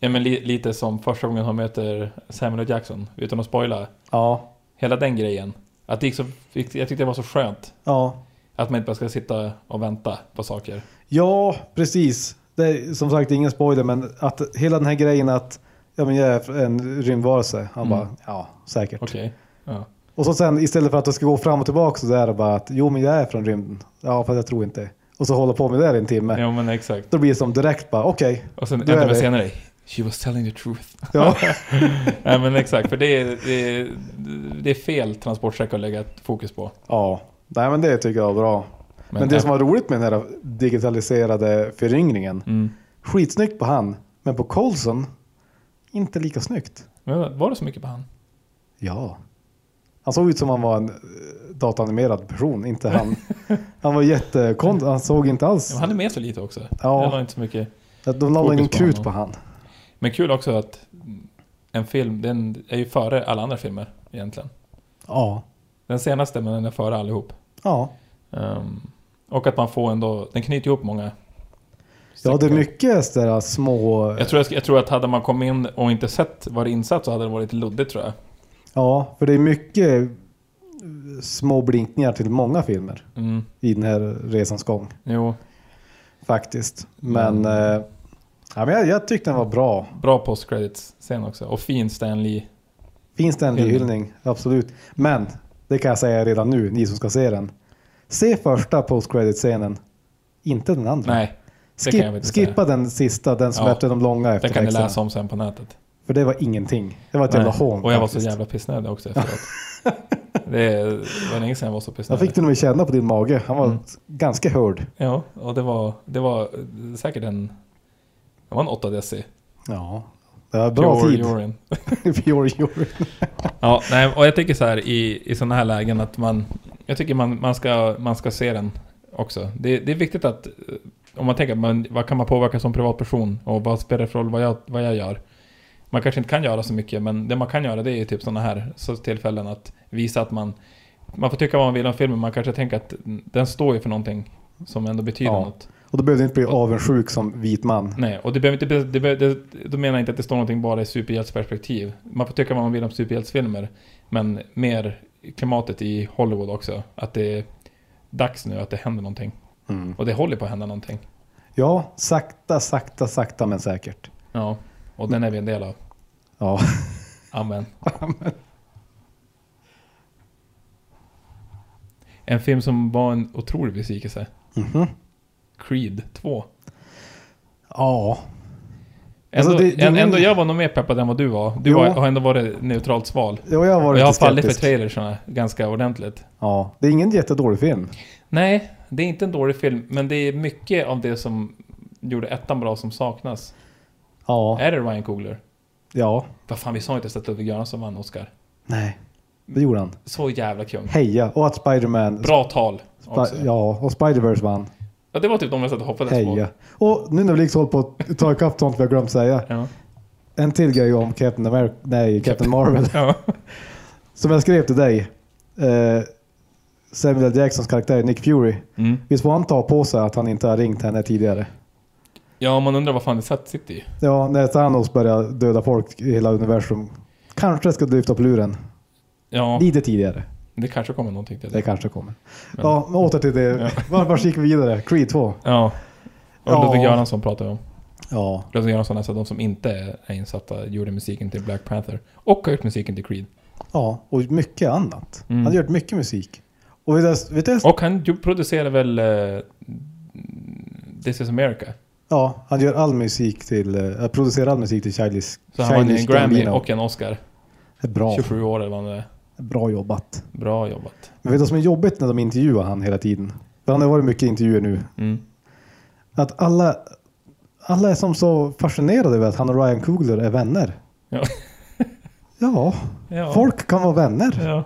Speaker 1: Ja, men li, lite som första gången han möter Samuel L. Jackson, utan att spoila.
Speaker 2: Ja,
Speaker 1: Hela den grejen. Att det gick så, jag tyckte det var så skönt.
Speaker 2: ja,
Speaker 1: Att man inte bara ska sitta och vänta på saker.
Speaker 2: ja precis. Det är, som sagt ingen spoiler men att hela den här grejen att ja, men jag är en rymdvarelse. Han
Speaker 1: Mm.
Speaker 2: bara ja, säkert.
Speaker 1: Okej. Ja.
Speaker 2: Och så sen istället för att det ska gå fram och tillbaka så där bara att jo men jag är från rymden. Ja fast jag tror inte. Och så håller på med det där i en timme.
Speaker 1: Ja men exakt.
Speaker 2: Då blir det som direkt bara okej.
Speaker 1: Och sen en
Speaker 2: Då är
Speaker 1: timme
Speaker 2: det.
Speaker 1: senare. She was telling the truth.
Speaker 2: Ja.
Speaker 1: Nej men exakt, för det är, det är, det är fel transportsträcka att lägga ett fokus på.
Speaker 2: ja. Nej men det tycker jag var bra. Men, det som var roligt med den här digitaliserade föryngringen.
Speaker 1: Mm.
Speaker 2: Skitsnyggt på han, men på Colson inte lika snyggt.
Speaker 1: Men var det så mycket på han?
Speaker 2: Ja. Han såg ut som han var en eh, dataanimerad person, inte han. Han var jättekont, han såg inte alls.
Speaker 1: Ja, men han är med så lite också.
Speaker 2: Ja.
Speaker 1: Jag la inte så mycket.
Speaker 2: De la
Speaker 1: fokus
Speaker 2: ingen
Speaker 1: på
Speaker 2: krut
Speaker 1: honom.
Speaker 2: på han.
Speaker 1: Men kul också att en film, den är ju före alla andra filmer egentligen.
Speaker 2: Ja.
Speaker 1: Den senaste, men den är före allihop.
Speaker 2: Ja.
Speaker 1: Ehm, och att man får ändå, den knyter ihop många.
Speaker 2: ja, det är
Speaker 1: säckar.
Speaker 2: mycket sådär små...
Speaker 1: Jag tror, jag, jag tror att hade man kommit in och inte sett vad det insatt så hade det varit lite luddigt tror jag.
Speaker 2: Ja, för det är mycket eh, små blinkningar till många filmer
Speaker 1: Mm.
Speaker 2: i den här resans gång
Speaker 1: Jo,
Speaker 2: faktiskt. Men, eh, ja, men jag, jag tyckte den var bra.
Speaker 1: bra post-credits-scen också. Och fin Stan Lee.
Speaker 2: Finns det en
Speaker 1: Filmen.
Speaker 2: hyllning? Absolut. Men, det kan jag säga redan nu, ni som ska se den. Se första post-credit-scenen, inte den andra.
Speaker 1: Nej, det kan jag väl
Speaker 2: Skip,
Speaker 1: inte
Speaker 2: skippa
Speaker 1: säga.
Speaker 2: den sista, den som
Speaker 1: Ja.
Speaker 2: efter de långa
Speaker 1: Det kan ni
Speaker 2: eftertexterna.
Speaker 1: läsa om sen på nätet.
Speaker 2: För det var ingenting. Det var ett jävla
Speaker 1: Nej.
Speaker 2: hån.
Speaker 1: Och jag var så
Speaker 2: faktiskt.
Speaker 1: jävla pissnödig också efteråt. det var länge sedan jag var så
Speaker 2: Jag
Speaker 1: pissnödig.
Speaker 2: fick du nog känna på din mage. Han var
Speaker 1: Mm.
Speaker 2: ganska hörd.
Speaker 1: Ja, och det var, det var säkert en... Det var en 8 deci.
Speaker 2: Ja. Det var bra
Speaker 1: Pure
Speaker 2: tid.
Speaker 1: urine.
Speaker 2: Pure urine.
Speaker 1: Ja, nej, och jag tycker så här i, i sådana här lägen att man... Jag tycker man, man, ska, man ska se den också. Det, det är viktigt att... eh, Om man tänker, man, vad kan man påverka som privatperson? Och vad spelar det för roll vad jag, vad jag gör? Man kanske inte kan göra så mycket, men det man kan göra det är ju typ sådana här så tillfällen att visa att man... Man får tycka vad man vill om filmen, man kanske tänker att den står ju för någonting som ändå betyder
Speaker 2: Ja.
Speaker 1: något.
Speaker 2: Och då behövde du inte bli avundsjuk som vit man.
Speaker 1: Nej, och det behöver inte... Det behöver, det, då menar jag inte att det står någonting bara i superhjältsperspektiv. Man får tycka vad man vill om superhjältsfilmer. Men mer klimatet i Hollywood också. Att det är dags nu att det händer någonting.
Speaker 2: Mm.
Speaker 1: Och det håller på att hända någonting.
Speaker 2: Ja, sakta, sakta, sakta men säkert.
Speaker 1: Ja, och den är vi en del av.
Speaker 2: Ja.
Speaker 1: Amen. En film som var en otrolig besvikelse.
Speaker 2: Mhm.
Speaker 1: Creed 2.
Speaker 2: Ja.
Speaker 1: Ändå,
Speaker 2: Alltså, det- det-
Speaker 1: ändå, jag var nog mer peppad än vad du var. Du
Speaker 2: Jo.
Speaker 1: var, har ändå varit neutralt sval.
Speaker 2: Jo, jag har
Speaker 1: Och
Speaker 2: varit
Speaker 1: jag har
Speaker 2: lite
Speaker 1: fallit för
Speaker 2: skeptisk.
Speaker 1: trailersarna ganska ordentligt.
Speaker 2: Ja. Det är ingen jättedålig film.
Speaker 1: Nej, det är inte en dålig film, men det är mycket av det som gjorde ettan bra som saknas.
Speaker 2: Ja.
Speaker 1: Är det Ryan Coogler?
Speaker 2: Ja. Vad
Speaker 1: Vad fan, vi sa inte ens att Ludvig Göransson vann Oscar.
Speaker 2: Nej. Det gjorde han.
Speaker 1: Så jävla kung.
Speaker 2: Heja. Och att Spiderman...
Speaker 1: Bra tal också.
Speaker 2: Spi- ja, och Spider-Verse vann.
Speaker 1: Ja, det var typ de jag satt och hoppades på.
Speaker 2: Heja. Och nu när vi liksom håller på att ta ikapp sånt vi har glömt säga.
Speaker 1: Ja.
Speaker 2: En till grej om Captain America, nej Captain Marvel.
Speaker 1: Ja.
Speaker 2: Som jag skrev till dig. Eh, Samuel L. Jacksons karaktär Nick Fury.
Speaker 1: Mm.
Speaker 2: Visst får han ta på sig att han inte har ringt henne tidigare?
Speaker 1: ja, man undrar vad fan det satt sitt i.
Speaker 2: Ja, när Thanos börjar döda folk i hela universum. Kanske ska du lyfta på luren.
Speaker 1: Ja,
Speaker 2: Lite tidigare.
Speaker 1: det kanske kommer någonting till
Speaker 2: Det
Speaker 1: det.
Speaker 2: kanske kommer. Ja, men åter till det. Var- Vars gick vi vidare? Creed 2?
Speaker 1: Ja. Och
Speaker 2: Ja.
Speaker 1: Ludvig Göransson pratar vi om.
Speaker 2: Ja.
Speaker 1: Ludvig Göransson är alltså de som inte är insatta, gjorde musiken till Black Panther. Och har gjort musiken till Creed.
Speaker 2: Ja, och mycket annat.
Speaker 1: Mm.
Speaker 2: Han har gjort mycket musik. Och vet du, vet du,
Speaker 1: Och han ju- producerade väl eh, This is America.
Speaker 2: ja, han gör all musik till, eh, producerar all musik till Childish
Speaker 1: Så han vann ju en
Speaker 2: Childish
Speaker 1: Grammy
Speaker 2: Gambino.
Speaker 1: och en Oscar.
Speaker 2: Bra,
Speaker 1: 27 år eller vad han är.
Speaker 2: bra jobbat.
Speaker 1: Bra jobbat.
Speaker 2: Men vet du vad som är jobbigt när de intervjuar han hela tiden? För han har varit mycket intervjuer nu.
Speaker 1: Mm.
Speaker 2: Att alla, alla är som så fascinerade över att han och Ryan Coogler är vänner.
Speaker 1: Ja.
Speaker 2: Ja,
Speaker 1: Ja.
Speaker 2: folk kan vara vänner.
Speaker 1: Ja.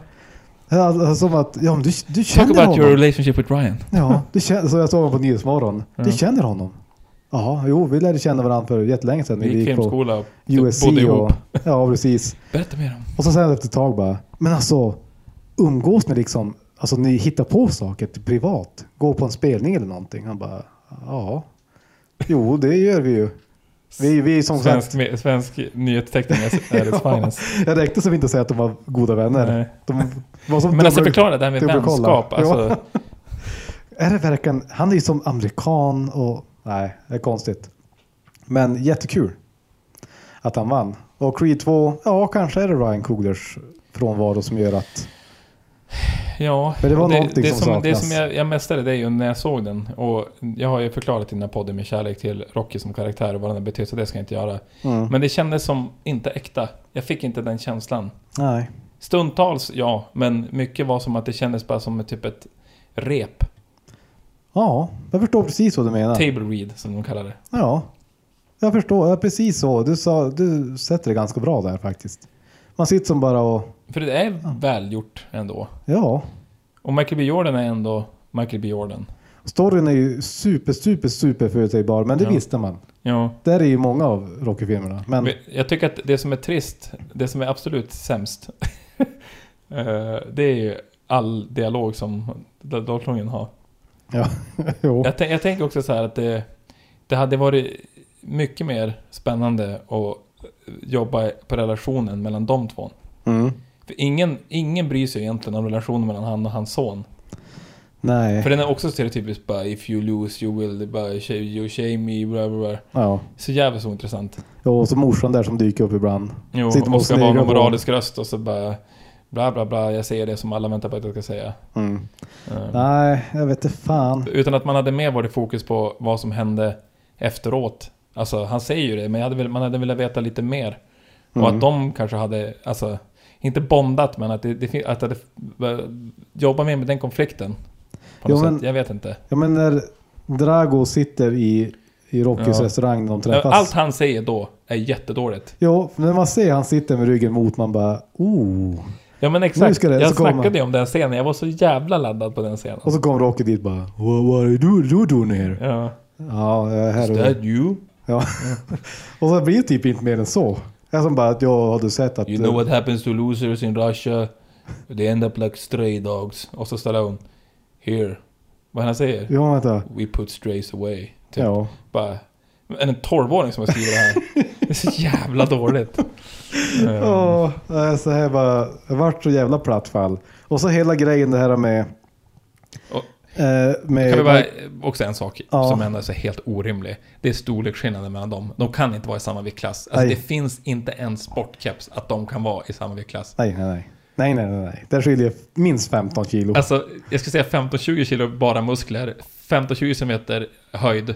Speaker 2: Alltså, som att, ja men du, du
Speaker 1: Talk
Speaker 2: känner
Speaker 1: about your
Speaker 2: honom.
Speaker 1: relationship with Ryan.
Speaker 2: Ja, du känner, så jag såg honom på Nyhetsmorgon. Du
Speaker 1: Ja.
Speaker 2: känner honom? Ja, jo vi lärde känna varandra för jättelänge sedan. när
Speaker 1: Vi gick filmskola och
Speaker 2: USC
Speaker 1: bodde ihop.
Speaker 2: och... Ja, precis.
Speaker 1: Berätta mer om.
Speaker 2: Och så sen efter ett tag bara, men alltså umgås ni liksom, alltså ni hittar på saker till privat, gå på en spelning eller någonting? Han bara, ja, jo det gör vi ju. Vi, vi är som
Speaker 1: Svensk,
Speaker 2: sagt,
Speaker 1: me- svensk nyhetsteckning är är its finest.
Speaker 2: jag räckte som inte att säga att de var goda vänner.
Speaker 1: Nej.
Speaker 2: De var som
Speaker 1: Men alltså
Speaker 2: dubbel-
Speaker 1: förklara det här med
Speaker 2: dubbelkolla.
Speaker 1: vänskap.
Speaker 2: Ja.
Speaker 1: Alltså,
Speaker 2: Är det verkligen, han är ju som amerikan och nej, det är konstigt. Men jättekul att han vann. Och Creed 2, ja kanske är det Ryan Cooglers frånvaro som gör att
Speaker 1: ja.
Speaker 2: Men det var
Speaker 1: och
Speaker 2: någonting
Speaker 1: det
Speaker 2: som
Speaker 1: Det
Speaker 2: saknas.
Speaker 1: som jag, jag mästade det är ju när jag såg den. Och jag har ju förklarat i den här podden med kärlek till Rocky som karaktär och vad den har betytt, så det ska jag inte göra.
Speaker 2: mm,
Speaker 1: Men det kändes som inte äkta. Jag fick inte den känslan.
Speaker 2: nej.
Speaker 1: Stundtals ja, men mycket var som att det kändes bara som ett, typ ett rep.
Speaker 2: Ja, jag förstår precis vad du menar.
Speaker 1: Table read som de kallar det.
Speaker 2: Ja, jag förstår. Ja, precis så. Du, sa, du sätter det ganska bra där faktiskt. Man sitter som bara och...
Speaker 1: För det är välgjort ändå.
Speaker 2: Ja,
Speaker 1: Och Michael B Jordan är ändå Michael B Jordan.
Speaker 2: storyn är ju super, super, super förutsägbar. Men det
Speaker 1: Ja.
Speaker 2: visste man.
Speaker 1: Ja.
Speaker 2: Där är ju många av Rocky-filmerna. Men
Speaker 1: Men Jag tycker att det som är trist, det som är absolut sämst, eh, det är ju all dialog som Daltlången har.
Speaker 2: ja, jo.
Speaker 1: Jag, tän- jag tänker också så här att det, det hade varit mycket mer spännande att jobba på relationen mellan de två.
Speaker 2: Mm.
Speaker 1: För För Ingen, ingen bryr sig egentligen om relationen mellan han och hans son.
Speaker 2: Nej.
Speaker 1: För den är också stereotypiskt bara if you lose you will, bara you shame me, bla bla bla.
Speaker 2: Ja.
Speaker 1: Så jävligt ointressant.
Speaker 2: Och så morsan där som dyker upp ibland.
Speaker 1: Jo,
Speaker 2: Sitter man
Speaker 1: och ska
Speaker 2: och
Speaker 1: vara
Speaker 2: sneglar
Speaker 1: någon
Speaker 2: på.
Speaker 1: moralisk röst och så bara bla bla bla, jag säger det som alla väntar på att jag ska säga.
Speaker 2: Mm.
Speaker 1: Eh,
Speaker 2: Nej, jag vet inte fan.
Speaker 1: Utan att man hade mer varit fokus på vad som hände efteråt. Alltså han säger ju det, men jag hade, väl- man hade velat veta lite mer. Och
Speaker 2: Mm.
Speaker 1: att de kanske hade, alltså, inte bondat men att det, det fin- att det hade jobbat mer med den konflikten. På
Speaker 2: Jo,
Speaker 1: något
Speaker 2: men-
Speaker 1: sätt. Jag vet inte.
Speaker 2: Ja men när Drago sitter i, i Rockys
Speaker 1: Ja.
Speaker 2: restaurang när de träffas.
Speaker 1: Allt han säger då är jättedåligt.
Speaker 2: Jo, när man ser han sitter med ryggen mot man bara oh.
Speaker 1: Ja men
Speaker 2: Nu
Speaker 1: exakt,
Speaker 2: ska det-
Speaker 1: jag
Speaker 2: så kommer-
Speaker 1: snackade ju om den scenen, jag var så jävla laddad på den scenen.
Speaker 2: Och så kom Rocky dit bara What, what are you, you doing here?
Speaker 1: Ja.
Speaker 2: Ja, jag är
Speaker 1: Is
Speaker 2: här och...
Speaker 1: that you?
Speaker 2: Ja. och så blir det typ inte mer än så. Jag som bara att jag har du sett att...
Speaker 1: You know what happens to losers in Russia? They end up like stray dogs. Och så Stallone. Here. Vad han säger?
Speaker 2: Ja, vänta.
Speaker 1: We put strays away. Typ.
Speaker 2: Ja.
Speaker 1: Bara, en en tolvåring som har skrivit det här. Det är så jävla dåligt. Eh,
Speaker 2: Ja, eh, så här bara, det vart så jävla platt fall. Och så hela grejen det här med...
Speaker 1: Och-
Speaker 2: eh, med
Speaker 1: Kan vi bara, också en sak
Speaker 2: Ja.
Speaker 1: som ändå är så helt orimlig. Det är storleksskillnaden mellan dem. De kan inte vara i samma viktklass. Alltså,
Speaker 2: Nej.
Speaker 1: det finns inte en sportkeps att de kan vara i samma viktklass.
Speaker 2: Nej, nej, nej. Nej, nej, nej, nej. Där skiljer minst 15 kilo.
Speaker 1: Alltså, jag skulle säga 15-20 kilo bara muskler, 15-20 cm höjd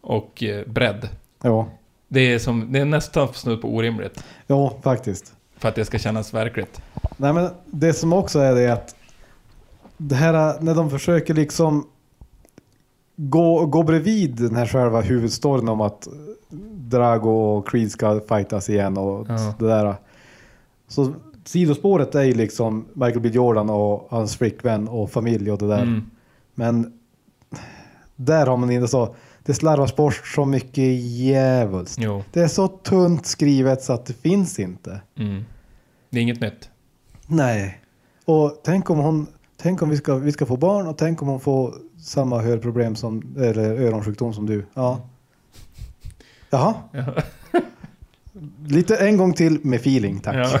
Speaker 1: och eh, bredd.
Speaker 2: Ja.
Speaker 1: Det är, som, det är nästan snudd på orimligt
Speaker 2: ja, faktiskt.
Speaker 1: för att det ska kännas verkligt.
Speaker 2: Nej, men det som också är det är att det här när de försöker liksom gå, gå bredvid den här själva huvudstoryn om att Drago och Creed ska fightas igen och
Speaker 1: Ja.
Speaker 2: det där. Så sidospåret är ju liksom Michael B Jordan och hans flickvän och familj och det där.
Speaker 1: Mm.
Speaker 2: Men där har man inte så. Det slarvas bort så mycket djävulskt.
Speaker 1: Jo.
Speaker 2: Det är så tunt skrivet så att det finns inte.
Speaker 1: Mm. Det är inget nytt.
Speaker 2: Nej. Och tänk om hon, tänk om vi ska, vi ska få barn och tänk om hon får samma hörproblem som, eller öronsjukdom som du. Ja. Jaha.
Speaker 1: Ja.
Speaker 2: Lite en gång till med feeling, tack.
Speaker 1: Ja.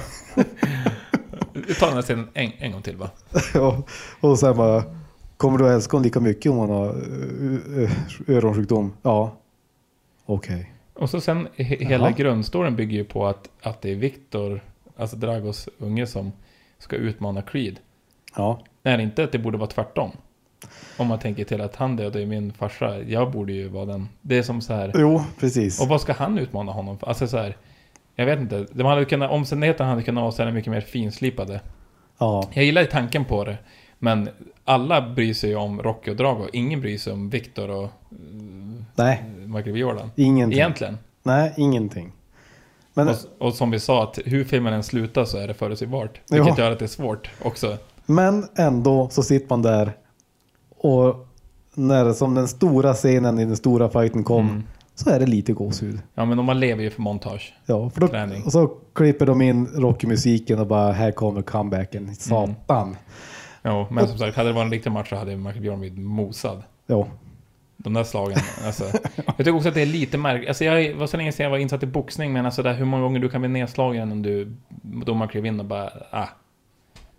Speaker 1: Vi tar den här scenen en, en gång till va?
Speaker 2: och, och sen bara, kommer du att älska hon lika mycket om hon har eh, eh, öronsjukdom? Ja. Okej.
Speaker 1: Och så sen, he, hela
Speaker 2: Jaha.
Speaker 1: grundstoryn bygger ju på att, att det är Viktor, alltså Dragos unge som ska utmana Creed.
Speaker 2: Ja.
Speaker 1: Nej, inte att det borde vara tvärtom. Om man tänker till att han dödade ju min farsa, jag borde ju vara den. Det är som så här,
Speaker 2: Jo, precis.
Speaker 1: och vad ska han utmana honom för? Alltså så här, jag vet inte. De hade kunnat, omständigheterna hade kunnat vara så här mycket mer finslipade.
Speaker 2: Ja.
Speaker 1: Jag gillar ju tanken på det, men alla bryr sig ju om Rocky och Drago. Ingen bryr sig om Victor och eh,
Speaker 2: Nej,
Speaker 1: Michael B. Jordan.
Speaker 2: ingenting.
Speaker 1: Egentligen.
Speaker 2: Nej, ingenting. Men,
Speaker 1: Och, och som vi sa, att hur filmen än slutar så är det förutsägbart. Vilket
Speaker 2: Ja.
Speaker 1: gör att det är svårt också.
Speaker 2: Men ändå så sitter man där och när som den stora scenen i den stora fighten kom
Speaker 1: Mm.
Speaker 2: så är det lite gåshud.
Speaker 1: Ja, men man lever ju för montage.
Speaker 2: Ja, för då,
Speaker 1: Träning.
Speaker 2: och så klipper de in Rocky-musiken och bara här kommer
Speaker 1: Mm.
Speaker 2: comebacken. Satan.
Speaker 1: Jo, men som sagt, hade det varit en riktig match så hade Michael B. Jordan blivit mosad.
Speaker 2: Ja.
Speaker 1: De där slagen. Alltså, jag tycker också att det är lite märkligt. Alltså, jag var så länge sedan jag var insatt i boxning, men alltså där, hur många gånger du kan bli nedslagen om du domaren klev in och bara ah.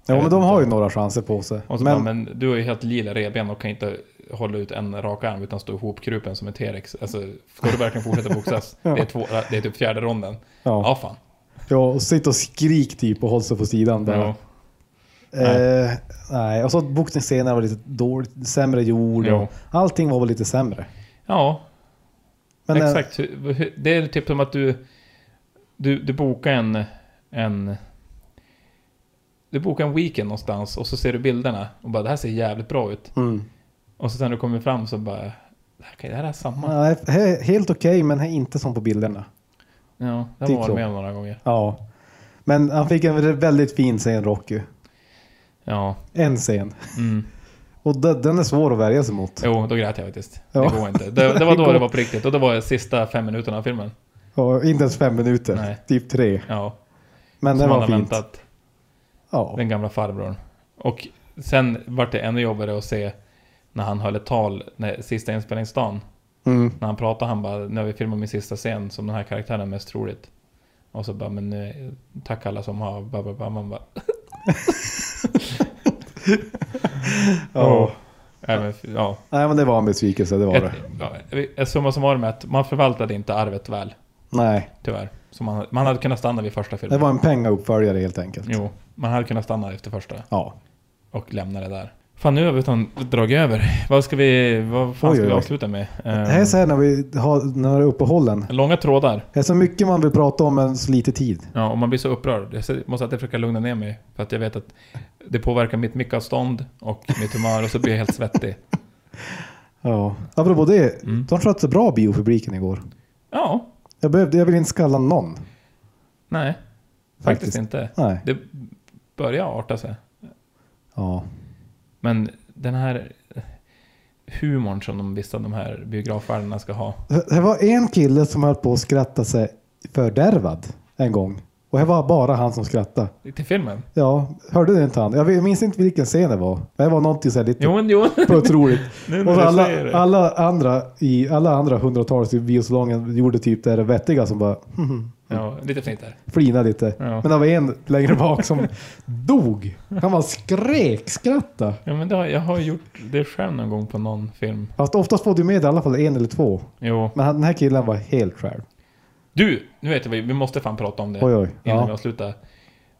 Speaker 1: Jag
Speaker 2: ja, men
Speaker 1: vet
Speaker 2: de
Speaker 1: inte.
Speaker 2: har ju några chanser på sig.
Speaker 1: Och så men,
Speaker 2: men,
Speaker 1: bara, men du har ju helt lila revben och kan inte hålla ut en rak arm utan står ihopkrupen som en T-rex. Alltså, ska du verkligen fortsätta boxas?
Speaker 2: Ja.
Speaker 1: det, är två, det är typ fjärde ronden. Ja,
Speaker 2: ja.
Speaker 1: fan.
Speaker 2: ja, och sitter och skrik typ och håller sig på sidan bara.
Speaker 1: Jo,
Speaker 2: Eh, nej, och så boxningsscenen var lite dåligt, sämre gjord.
Speaker 1: Jo.
Speaker 2: Och allting var väl lite sämre.
Speaker 1: ja
Speaker 2: Men, eh,
Speaker 1: exakt. Hur- hur- Det är typ som att du, du, du bokar en, en... Du bokar en weekend någonstans och så ser du bilderna och bara det här ser jävligt bra ut.
Speaker 2: Mm.
Speaker 1: Och så sen när du kommer fram så bara, det här, kan- det här är samma.
Speaker 2: Nej, he- helt okej, men he- inte som på bilderna.
Speaker 1: Ja, det har
Speaker 2: Typ
Speaker 1: man
Speaker 2: så.
Speaker 1: varit med om några gånger.
Speaker 2: Ja. Men han fick en väldigt fin scen, Rocky.
Speaker 1: Ja,
Speaker 2: En scen.
Speaker 1: mm.
Speaker 2: Och de- den är svår att värja sig mot.
Speaker 1: jo, då grät jag faktiskt.
Speaker 2: Ja.
Speaker 1: Det går inte. Det, det var då det var på riktigt och det var de sista fem minuterna av filmen.
Speaker 2: Ja, inte ens fem minuter,
Speaker 1: Nej.
Speaker 2: typ tre.
Speaker 1: Ja,
Speaker 2: Men det
Speaker 1: som man
Speaker 2: var
Speaker 1: har
Speaker 2: fint.
Speaker 1: väntat.
Speaker 2: Ja.
Speaker 1: Den gamla farbrorn. Och sen vart det ännu jobbigare att se när han höll ett tal, när, sista inspelningsdagen.
Speaker 2: Mm.
Speaker 1: När han pratade han bara, nu har vi filmat min sista scen som den här karaktären är mest troligt. Och så bara, men eh, tack alla som har, bara, bara, bara, man bara,
Speaker 2: Ja.
Speaker 1: Nej, men, ja.
Speaker 2: Nej men det var en besvikelse, det var
Speaker 1: Ett,
Speaker 2: det.
Speaker 1: ja, ett summa summarum är att man förvaltade inte arvet väl,
Speaker 2: Nej,
Speaker 1: tyvärr. Så man, man hade kunnat stanna vid första
Speaker 2: det
Speaker 1: filmen.
Speaker 2: var en pengauppföljare helt enkelt.
Speaker 1: Jo, man hade kunnat stanna efter första
Speaker 2: Ja.
Speaker 1: och lämna det där. Fan, nu har vi utan dragit över. Vad ska vi, vad fan
Speaker 2: Oj,
Speaker 1: ska
Speaker 2: oj,
Speaker 1: vi
Speaker 2: oj.
Speaker 1: avsluta med?
Speaker 2: Det
Speaker 1: Ehm,
Speaker 2: här är så här när vi har när det är uppehållen.
Speaker 1: långa trådar.
Speaker 2: Det är så mycket man vill prata om men så lite tid.
Speaker 1: Ja, och man blir så upprörd. Jag ser- måste alltid försöka lugna ner mig. För att jag vet att det påverkar mitt mickavstånd och mitt humör och så blir jag helt svettig.
Speaker 2: Ja. Apropå det,
Speaker 1: Mm.
Speaker 2: de skötte bra biopubliken igår.
Speaker 1: Ja,
Speaker 2: Jag, behövde, jag vill inte skalla någon.
Speaker 1: nej.
Speaker 2: Faktiskt.
Speaker 1: faktiskt inte.
Speaker 2: Nej.
Speaker 1: Det börjar arta sig.
Speaker 2: Ja.
Speaker 1: Men den här humorn som de vissa av de här biografvärdarna ska ha.
Speaker 2: Det det var en kille som höll på att skratta sig fördärvad en gång. Och det var bara han som skrattade.
Speaker 1: Till filmen?
Speaker 2: Ja, hörde du inte han? Jag vet- minns inte vilken scen det var. Men det var någonting så här lite
Speaker 1: Jo, men jo.
Speaker 2: på otroligt.
Speaker 1: Nu när
Speaker 2: Och så
Speaker 1: du säger
Speaker 2: alla,
Speaker 1: det.
Speaker 2: alla andra i alla andra hundratals i biosalongen gjorde typ det här vettiga som bara mhm,
Speaker 1: Ja, lite fint där.
Speaker 2: flina lite.
Speaker 1: Ja.
Speaker 2: Men det var en längre bak som dog. Han bara skrek, skratta.
Speaker 1: Ja, men det har, jag har gjort det själv någon gång på någon film.
Speaker 2: Fast oftast får du med i alla fall en eller två.
Speaker 1: Jo.
Speaker 2: Men han, den här killen var helt själv.
Speaker 1: Du, nu vet jag vad, vi måste fan prata om det.
Speaker 2: Oj, oj.
Speaker 1: Innan vi
Speaker 2: Ja.
Speaker 1: avslutar.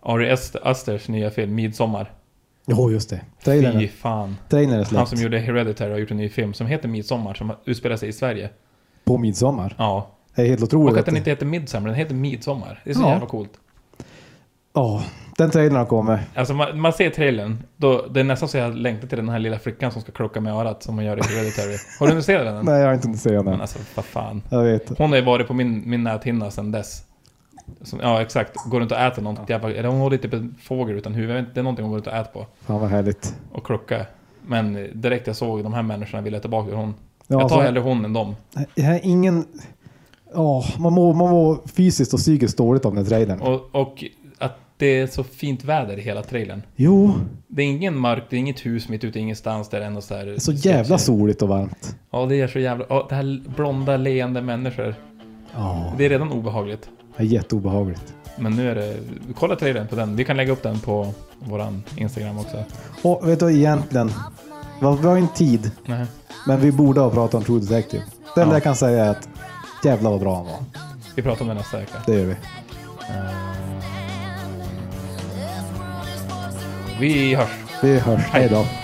Speaker 1: Ari Ast- Asters nya film, Midsommar.
Speaker 2: Jo, just det.
Speaker 1: Fy
Speaker 2: Trailern,
Speaker 1: fan.
Speaker 2: trailern är
Speaker 1: Han
Speaker 2: släppt
Speaker 1: som gjorde Hereditary har gjort en ny film som heter Midsommar som utspelar sig i Sverige.
Speaker 2: på midsommar.
Speaker 1: Ja.
Speaker 2: Det är helt
Speaker 1: Och
Speaker 2: otroligt.
Speaker 1: att den inte heter Midsommar, den heter Midsommar. Det är så
Speaker 2: Ja.
Speaker 1: jävla coolt.
Speaker 2: Ja, den trailern har kommit.
Speaker 1: Alltså man, man ser trailern, då, det är nästan så jag längtar till den här lilla flickan som ska klocka med örat som hon gör i Hereditary. Har du nu sett den? än?
Speaker 2: Nej, jag har inte hunnit se
Speaker 1: Men
Speaker 2: den.
Speaker 1: alltså vad fan.
Speaker 2: Jag vet.
Speaker 1: Hon har ju varit på min, min näthinna sedan dess. Som, ja exakt, går runt och äter något jävla... Eller hon håller typ en fågel utan huvud. Jag vet inte, Det är någonting hon går runt och äter på.
Speaker 2: Fan vad härligt.
Speaker 1: Och klocka. Men direkt jag såg de här människorna ville jag tillbaka till hon.
Speaker 2: Ja,
Speaker 1: jag tar
Speaker 2: så-
Speaker 1: hellre hon än dem.
Speaker 2: Det här är ingen... Ja, man, mår, man mår fysiskt och psykiskt dåligt av den här trailern.
Speaker 1: Och, och att det är så fint väder i hela trailern.
Speaker 2: Jo,
Speaker 1: Det är ingen mörkt, det är inget hus mitt ute ingenstans. Det är ändå så här...
Speaker 2: det är så jävla soligt och varmt.
Speaker 1: Ja, det är så jävla... Ja, det här blonda leende människor.
Speaker 2: Ja,
Speaker 1: Det är redan obehagligt.
Speaker 2: det är jätteobehagligt.
Speaker 1: Men nu är det... Kolla trailern på den. Vi kan lägga upp den på våran Instagram också.
Speaker 2: Och vet du egentligen? Det var bra en tid,
Speaker 1: Nej.
Speaker 2: men vi borde ha pratat om True Detective. Det enda
Speaker 1: Ja.
Speaker 2: jag kan säga är att jävlar vad bra han var.
Speaker 1: Vi pratar om det nästa vecka.
Speaker 2: Det gör vi.
Speaker 1: Vi hörs.
Speaker 2: Vi hörs. Hej då.